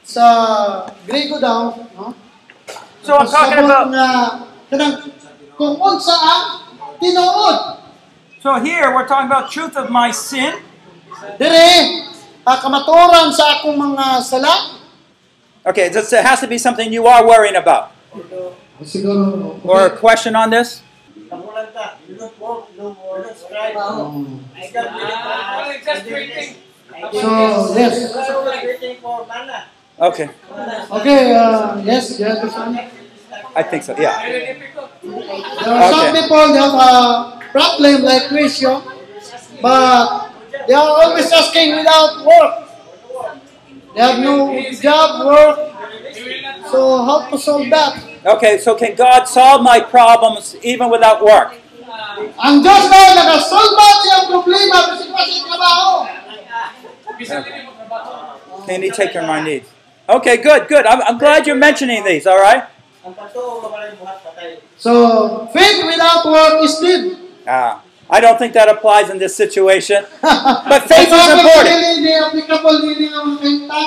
sa Grego daw, no? So I'm talking about. Pasabot na kanang kung unsa ang tinuod. So here we're talking about truth of my sin, Dire ah, kamatuoran sa akong mga sala. Okay, this, it has to be something you are worrying about. Siguro Or a question on this? Kamulan ka. You don't work, no more. You don't strive. I don't do that. Ah, just drinking. I do So, this. yes. So, like, waiting for mana. Okay, Mana. Okay, ah, yes, yes. yes. I think so. Yeah. Very difficult. There are some Okay. people have a problem like Christian, but they are always asking without work. They have no job, work, You will not so how to solve that? Okay, so can God solve my problems even without work? Ang Diyos na nakasolve siyang problema kasi kasi trabaho. be sending him a baton. Can He take care of my needs? Okay, good, good. I'm, I'm glad you're mentioning these. All right. Ang pato, kamulan buhat patay. So, faith without work is dead. Ah, I don't think that applies in this situation. But faith Faith is important. Hindi applicable hindi nga mga kanta.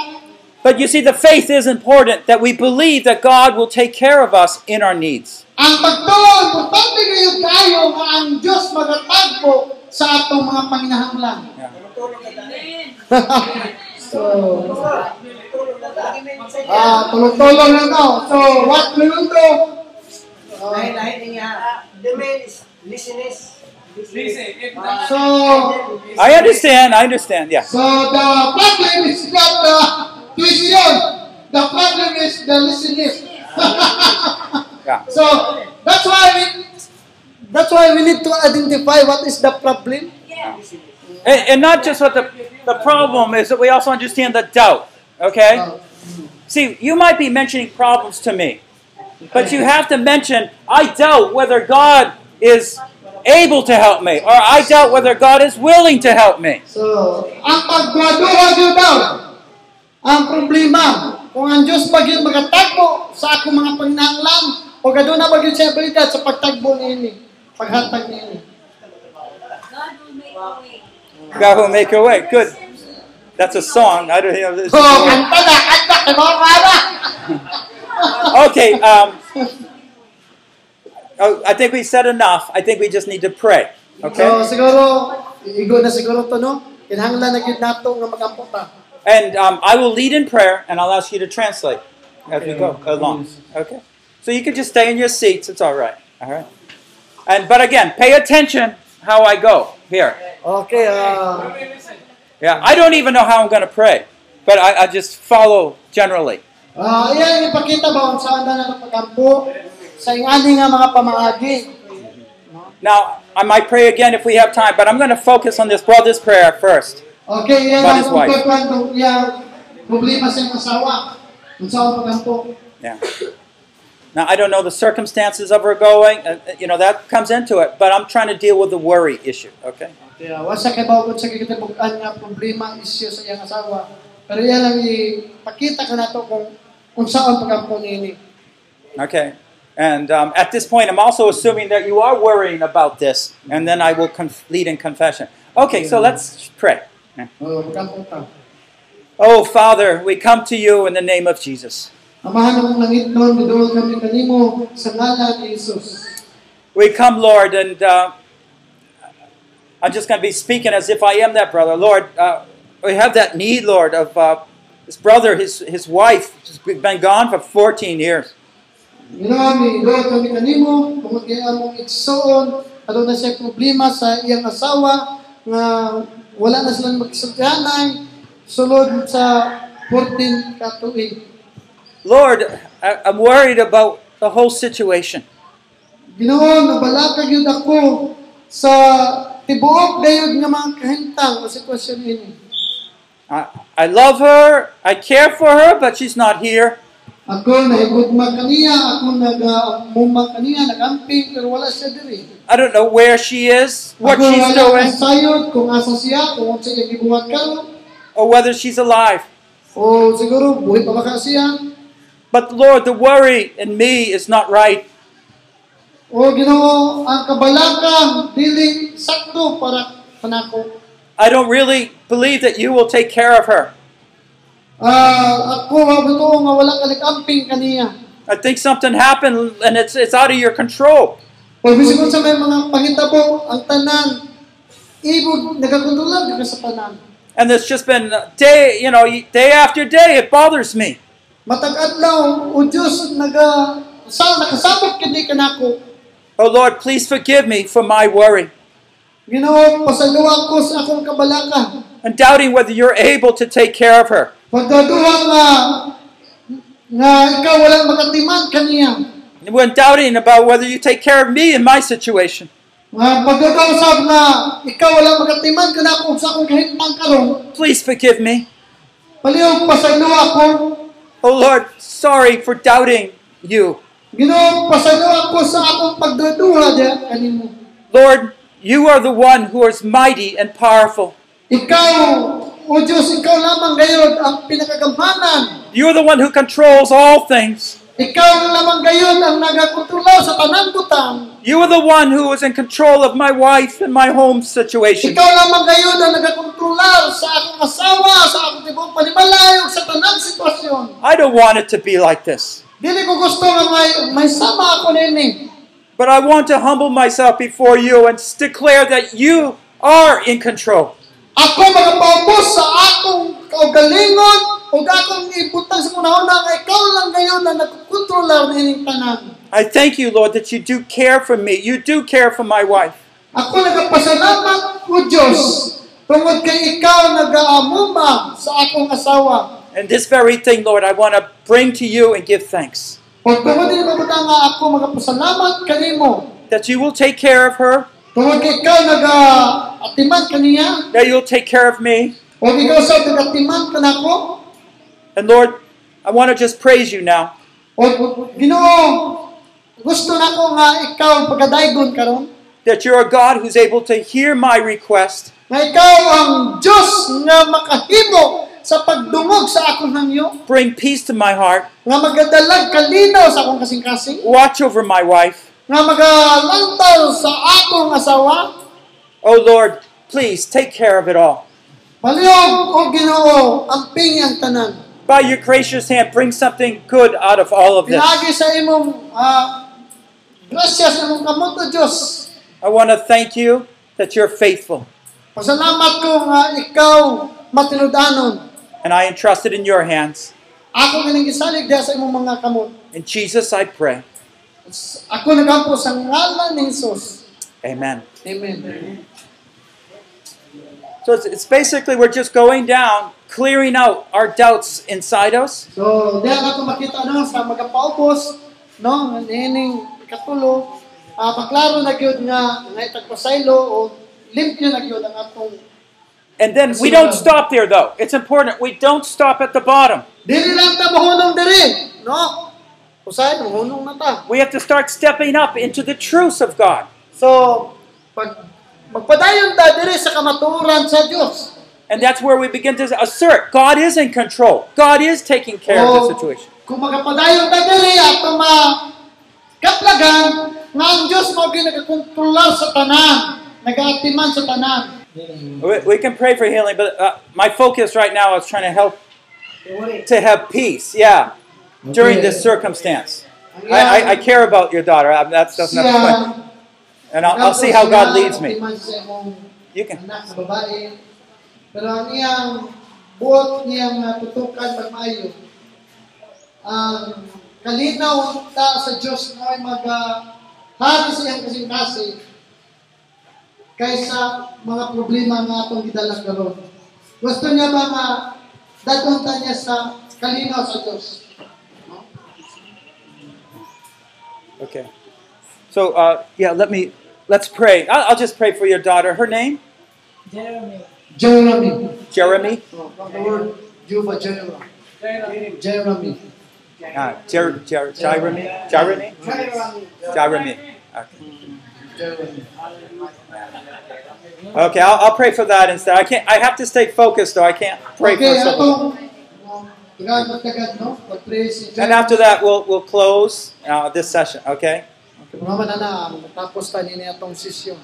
But you see, the faith is important that we believe that God will take care of us in our needs. Ang pagtuo, importante kayo kayo nga ang Diyos magatagpo sa atong mga panginahanglan. Tumutulog ka dali. So, Tumutulog ka dali. Ah, tulog-tulog lang daw. So, what we will do? Lain, lain niya. The man is listeners. Listen, if not, So, I understand, I understand, yeah. so the problem is not the tuition. The problem is the listening. (laughs) Yeah. so, that's why we that's why we need to identify what is the problem. And, and not just what the, the problem is, that we also understand the doubt, okay? See, you might be mentioning problems to me, but you have to mention, I doubt whether God is able to help me, or I doubt whether God is willing to help me. So, ang pagduha gyud daw ang problema kung ang Dios ba gyud magatagbo sa ako mga panginahanglan o gaduna ba gyud siya abilidad sa pagtagbo niini, paghatag niini. God will make a way. God will make a way. Good. That's a song. I don't know. So, Oh, (laughs) kanta na, kanta kay mga kara. Okay. Um, oh, I think we said enough. I think we just need to pray. So, Okay. siguro igo na siguro to no. Kinahanglan na gyud nato nga magamputa. And um, I will lead in prayer, and I'll ask you to translate as we go along. Okay. So you can just stay in your seats. It's all right. All right. And but again, pay attention how I go here. Okay, ah. Yeah. I don't even know how I'm going to pray, but I, I just follow generally. Ah, iyan ipakita ba kung saan na nakapagampo sa ingani nga mga pamaagi. Now I might pray again if we have time, but I'm going to focus on this brother's prayer first. Okay, iyan What ang is wife? pagkwan kung iyang problema sa iyong asawa. Kung saan pagampo. Yeah. Now I don't know the circumstances of her going. Uh, you know that comes into it, but I'm trying to deal with the worry issue. Okay. Kaya ah, wasa kay bawod sa kikitibukan nga problema isyu sa iyang asawa. Pero iyan lang ipakita ka nato kung kung saan pagampo niini. Okay. And um, at this point, I'm also assuming that you are worrying about this, and then I will conf- lead in confession. Okay. So let's pray. Oh, pagampo ta. Oh Father, we come to you in the name of Jesus. Amahan ng langit noon, gudulog kami kanimo sa ngalan ni Jesus. We come, Lord, and uh, I'm just going to be speaking as if I am that brother. Lord, uh, we have that need, Lord, of uh, this brother, his, his wife, has been gone for 14 years. Ginami, Lord, kami kanimo, tungod kay among igsoon, aduna Ano na siya problema sa iyang asawa, nga wala na silang magsultihanay, sulod sa 14 ka tuig. Lord, I, I'm worried about the whole situation. Ginoo, nabalaka gyud ako sa tibuok gayud nga mga kahintang o sitwasyon ini. I, I love her, I care for her, but she's not here. Ako nahigugma kaniya, ako nagamuma kaniya, nagamping, pero wala siya diri. I don't know where she is, what Ako she's wala doing, akong sayod kung asa siya, kung unsa siya gibuhat karon. or whether she's alive. O siguro, buhay pa ba ka siya? But Lord, the worry in me is not right. O ginoo, ang kabalaka, dili sakto para kanako. I don't really believe that you will take care of her. Ah, ako ang totoo nga wala kalikamping kaniya. I think something happened and it's it's out of your control. Pagbisikot sa may mga pangitabo, ang tanan, ibog, nagakontrolan ka sa tanan. And it's just been day, you know, day after day. It bothers me. Matag-adlaw, o Diyos, naga, sa, nakasabot kini kanako. Oh Lord, please forgive me for my worry Ginoo, pasaluwa ko sa akong kabalaka. and doubting whether you're able to take care of her. Pagkaduha nga, nga ikaw wala makatiman kaniya. When doubting about whether you take care of me in my situation. Mga pagkakausap na ikaw wala magkatiman ka na kung sa akong kahintang karon, Please forgive me. palihog pa sa inuwa ko, Oh Lord, sorry for doubting you. ginoong pa sa inuwa ko sa akong pagduduha diya kanimo. Lord, you are the one who is mighty and powerful. Ikaw, o Diyos, ikaw lamang gayon ang pinakagamanan. You're the one who controls all things. Ikaw lamang gayon ang nagakontrola sa tanang butang. You are the one who is in control of my wife and my home situation. Ikaw lamang gayon ang nagakontrola sa akong asawa, sa akong tibong panimalayog, sa tanang sitwasyon. I don't want it to be like this. Dili ko gusto nga may, may sama ako nini. But I want to humble myself before you and declare that you are in control. Ako magapaubos sa akong kaugalingon o akong ibutang sa una-una nga ikaw lang ngayon na nagkukontrolar ng ining tanan. I thank you, Lord, that you do care for me. You do care for my wife. Ako nagpasalamat o Diyos tungod kay ikaw nagaamuma sa akong asawa. And this very thing, Lord, I want to bring to you and give thanks. O tungod din mabuta nga ako magapasalamat kanimo That you will take care of her, tungod kay ikaw nagaatiman kaniya that you'll take care of me. o ikaw sa nagatiman kanako. And Lord, I want to just praise you now. O Ginoo, gusto nako nga ikaw pagkadaigon karon That you're a God who's able to hear my request nga ikaw ang Dios nga makahimo sa pagdungog sa akong hangyo, bring peace to my heart, nga magadalag kalinaw sa akong kasing-kasing, watch over my wife. nga magalantaw sa akong asawa. Oh Lord, please take care of it all. Palihog o Ginoo, amping ang tanan. By your gracious hand, bring something good out of all of this. Pinagi sa imong ah, grasya sa imong kamot o Dios. I want to thank you that you're faithful, Pasalamat ko nga ikaw matinud-anon. and I entrust it in your hands. Ako nga gisalig diha sa imong mga kamot. In Jesus, I pray. Ako nagampo sa ngalan ni Jesus. Amen. Amen. So it's, it's basically we're just going down, clearing out our doubts inside us, So, diha na ito makita no, sa magapaubos, no, nining katulo, ah, maklaro na gyud nga, nga itagpasaylo o limpyo na gyud ang atong and then we don't stop there though. It's important we don't stop at the bottom. Dili lang ta mahunong diri, no? Usahay, mahunong na ta. We have to start stepping up into the truths of God, So, pag magpadayon ta diri sa kamaturan sa Dios. and that's where we begin to assert God is in control. God is taking care of the situation. kung magpadayon ta diri at ma kaplagan nga ang Dios mao gyud nagakontrolar sa tanan, nagaatiman sa tanan. We, we can pray for healing, but uh, my focus right now is trying to help to have peace. Yeah, during this circumstance, I, I, I care about your daughter. I, that's that's not Siya, fun, and I'll, I'll see how God leads me. Atiman siya sa imong You can. anak sa babae. Pero ang iyang buot niyang natutukan pagmaayo. Ang kalinaw ta sa Diyos na ay mag ah, hari sa iyang kasing-kasi kaysa mga problema nga atong gidala karon. Gusto niya ba nga datong ta niya sa kalinaw sa Diyos? Okay. So uh, yeah, let me let's pray. I'll, I'll just pray for your daughter. Her name Jeremy. Jeremy. Jeremy. Oh, from the word Juba Jeremy. Jeremy. Jeremy. Uh, Jer, Jer, Jeremy. Jeremy. Jeremy. Jeremy. Okay. Jeremy. Okay. I'll, I'll pray for that instead. I can't. I have to stay focused though. I can't pray okay, for ano someone. atong Tagad magtagad, no? Pag-pray si And after that, we'll we'll close uh, this session. Okay. Mga manana, tapos tanin niya atong sisyon.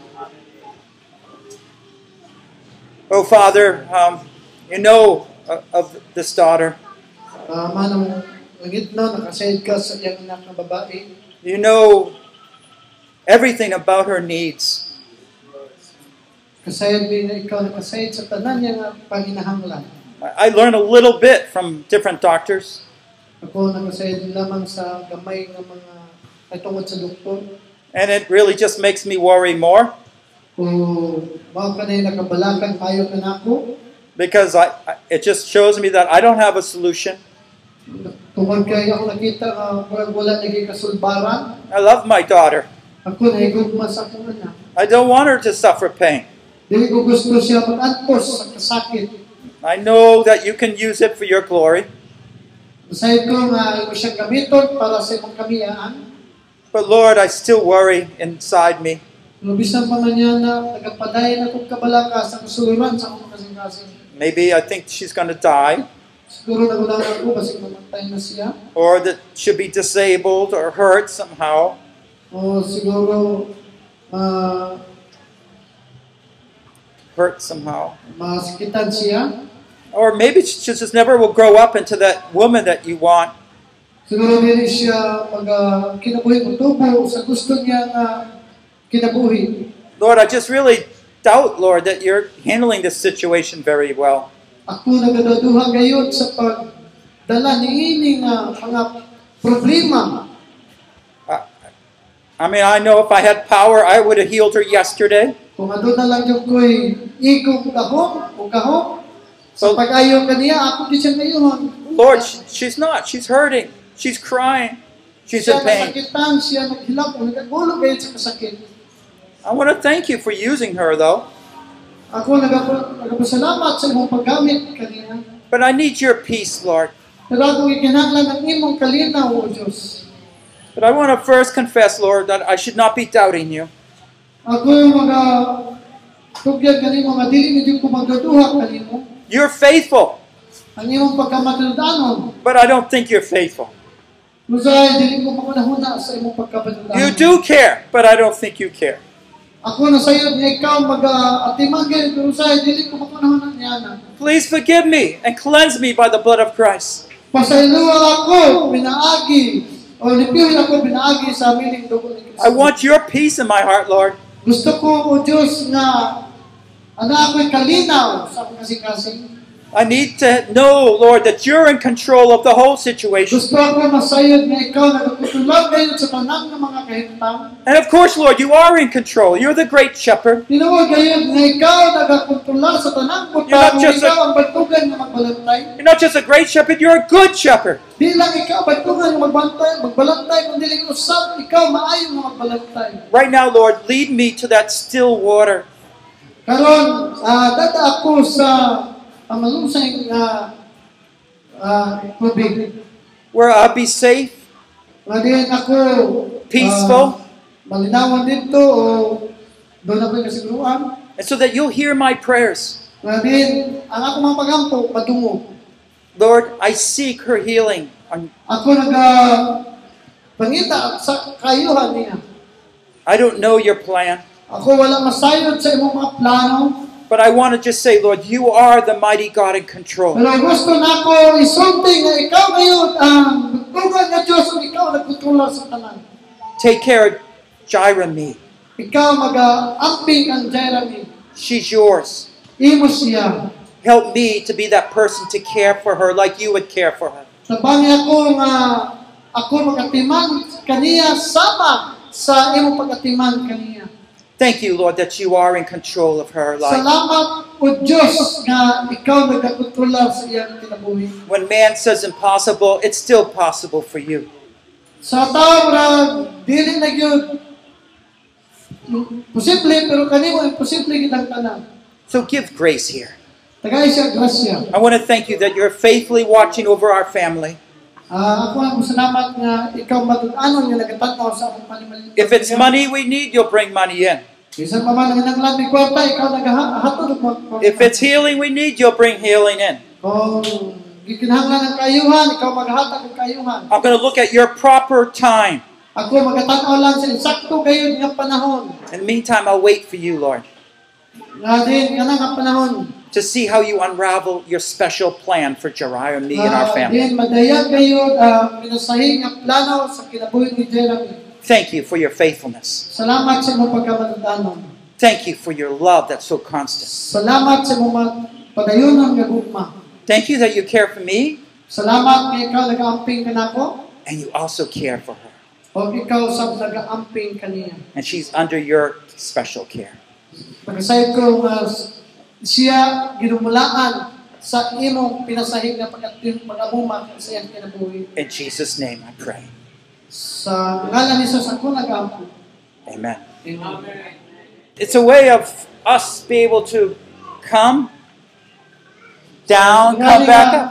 Oh, Father, um, you know of- of this daughter. Uh, manong, langit na, nakasaid ka sa iyang anak na babae. You know everything about her needs. Kasayad din na ikaw nakasaid sa tanan niya nga panginahanglan. I I learned a little bit from different doctors, Ako nakasayad din lamang sa gamay ng mga ay tungod sa doktor. and it really just makes me worry more Kung mao ka na nakabalakan, kayo ka na ako. because I, I, it just shows me that I don't have a solution. Tungod kay ako nakita, uh, wala naging kasulbaran. I love my daughter. Ako na igugma sa akong anak. I don't want her to suffer pain. Dili ko gusto siya mag-antos sa kasakit. I know that you can use it for your glory, Masayad ko nga imo siyang gamiton para sa imong kamiyaan. but Lord, I still worry inside me. Pero bisan pa man yan na nagapadayon akong kabalaka sa kasuliran sa akong kasing-kasing. Maybe I think she's going to die, Siguro nagulangan ko kasi mamatay na siya. or that she'll be disabled or hurt somehow. O siguro ah, hurt somehow. masakitan siya. Or maybe she just never will grow up into that woman that you want. Siguro dili siya pag uh, kinabuhi ko tubo sa gusto niya nga kinabuhi. Lord, I just really doubt, Lord, that you're handling this situation very well. Ako nagadaduha gayon sa pagdala ni ini nga mga problema I mean, I know if I had power, I would have healed her yesterday. Kung ano na lang yung ko'y ikong kahong o kahong, sa pag-ayaw ka niya, ako di siya ngayon. Oh. Lord, sh- she's not. She's hurting. She's crying. She's in siya pain. nasakitan, siya naghilak, o nagkagulo kayo sa kasakit. I want to thank you for using her, though. Ako nagapa- nagapasalamat sa imong paggamit kanina. But I need your peace, Lord. Nagagong ikinahanglan ang imong kalinaw, O Diyos. But I want to first confess, Lord, that I should not be doubting you. Ako yung mga tugyag kanimo nga dili na jud ko magduduha kanimo. You're faithful, Ang imong pagkamatudanon, but I don't think you're faithful. Musay, dili ko makunahuna sa imong pagkamatudanon. You do care, but I don't think you care. Ako na sayod nga ikaw mag uh, atimagin, pero say, dili ko makunahuna niya na. Please forgive me and cleanse me by the blood of Christ. Pasayloa ako, binaagi. O lipiwin ako, binaagi sa miling dugo ni Kristo. I want your peace in my heart, Lord. Gusto ko, O Diyos, nga ana ako'y kalinaw sa akong kasing-kasing. I need to know, Lord, that you're in control of the whole situation. Gusto ako masayod nga ikaw nagkutulog ngayon sa tanang ng mga kahintang. And of course, Lord, you are in control. You're the great shepherd. Tinuod ngayon nga ikaw nagakontrolar sa tanang You're punta not kung just a- ikaw ang bantugan nga magbalantay. You're not just a great shepherd, you're a good shepherd. Di lang ikaw bantugan nga magbantay, magbalantay, kundi lang usap ikaw maayo nga magbalantay. Right now, Lord, lead me to that still water. Karon, ah dada ako sa pamalusay nga ah tubig. where I'll be safe. Nga diyan ako Peaceful. ah, malinawan dito o doon ako kasiguruan. And so that you'll hear my prayers. Nga diyan, ang ako mga paghampo, madungo. Lord, I seek her healing. I'm- Ako naga pangita sa kayuhan niya. I don't know your plan, Ako wala masayod sa imong mga plano. but I want to just say, Lord, you are the mighty God in control. Pero gusto na ako isulti nga ikaw ngayon ang tugan nga Diyos o ikaw nagkutular sa tanan. Take care of Jira me. Ikaw mag-amping ang Jeremy. She's yours. Imo siya. Help me to be that person to care for her like you would care for her. Sabangi ako nga ako magatiman kaniya sama sa imong pagatiman kaniya. Thank you, Lord, that you are in control of her life. Salamat o Diyos nga ikaw nagkakontrolar sa iyang kinabuhi. When man says impossible, it's still possible for you. Sa tao ra dili na gyud posible pero kanimo imposible gid ang tanan. So give grace here. Tagay siya grasya. I want to thank you that you're faithfully watching over our family. Ah, ako ang salamat nga ikaw matud-anon nga nagatanaw sa akong panimalin. If it's money we need, you'll bring money in. Bisan pa man ang naglabi kwarta ikaw nagahatod og mga- If it's healing we need, you'll bring healing in. Kung gikinahanglan ng kayuhan, ikaw maghatag ng kayuhan. I'm going to look at your proper time. Ako magatanaw lang sa insakto kayo nga panahon. In the meantime, I'll wait for you, Lord, Nga din, nga nga panahon. to see how you unravel your special plan for Jeriah, me, and our Ah, family. Din, madayag kayo ah, ang pinasahi nga plano sa kinabuhi ni Jeremy. Thank you for your faithfulness. Salamat sa mga pagkamatatanon. Thank you for your love that's so constant. Salamat sa mga padayon nga gugma. Thank you that you care for me Salamat kay ikaw nag-aamping ka nako and you also care for her. o ikaw sab nag-aamping kaniya. And she's under your special care. Pagkasayod ko nga siya ginumulaan sa imong pinasahig nga pagkatin pag-abuma sa iyang kinabuhi. In Jesus' name I pray. Sa ngalan ni Jesus ako nag-aampo. Amen. Amen. It's a way of us be able to come down, come back up.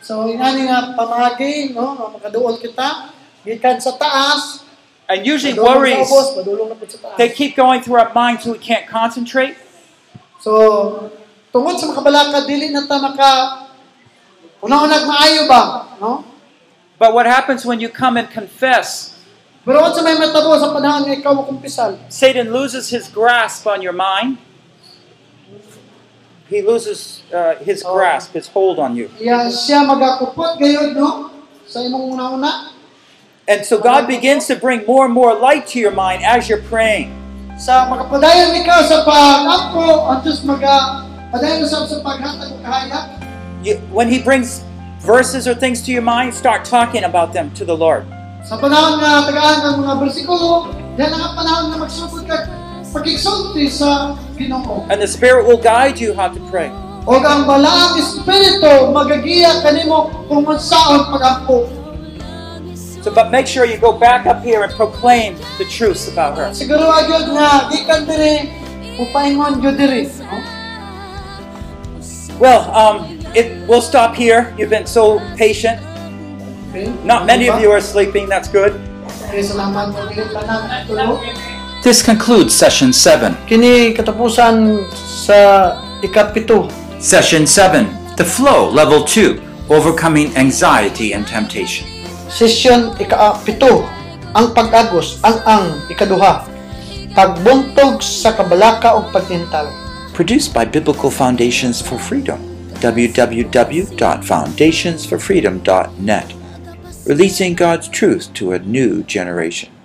So ingani nga pamagi no nga makaduol kita gikan sa taas. And usually madulong worries, sa ubos, madulong na po sa they taas. keep going through our minds so we can't concentrate. So tungod sa makabalaka dili na ta maka una-una maayo ba, no? But what happens when you come and confess, Pero unsa may matabo sa panahon nga ikaw makumpisal? Satan loses his grasp on your mind. He loses uh, his Oh. grasp, his hold on you. Iya siya magakupot gayud no sa imong una-una. And so God begins to bring more and more light to your mind as you're praying. Sa makapadayon ikaw sa pag-ampo, ang Diyos maga padayon usab sa paghatag og kahayag. You, when he brings verses or things to your mind, start talking about them to the Lord. Sa panahon nga tagaan ng mga bersikulo, yan ang panahon na magsubod ka pagkiksulti sa Ginoo. And the Spirit will guide you how to pray. O ang balaang espiritu magagiya kanimo kung unsaon pagampo. So, but make sure you go back up here and proclaim the truths about her. Siguro agyod nga gikan diri upaingon gyud diri. no? Well, um, it, we'll stop here. You've been so patient. Okay? Not many of you are sleeping, that's good. Okay, salamat po kayo tanang tulo. This concludes session 7. Kini katapusan sa ikapito. Session 7 The Flow Level 2 Overcoming Anxiety and Temptation. Session ikapito. Ang pag-agos, ang ang ikaduha. Pagbuntog sa kabalaka o pagtintal. Produced by Biblical Foundations for Freedom. www.foundationsforfreedom.net. Releasing God's truth to a new generation.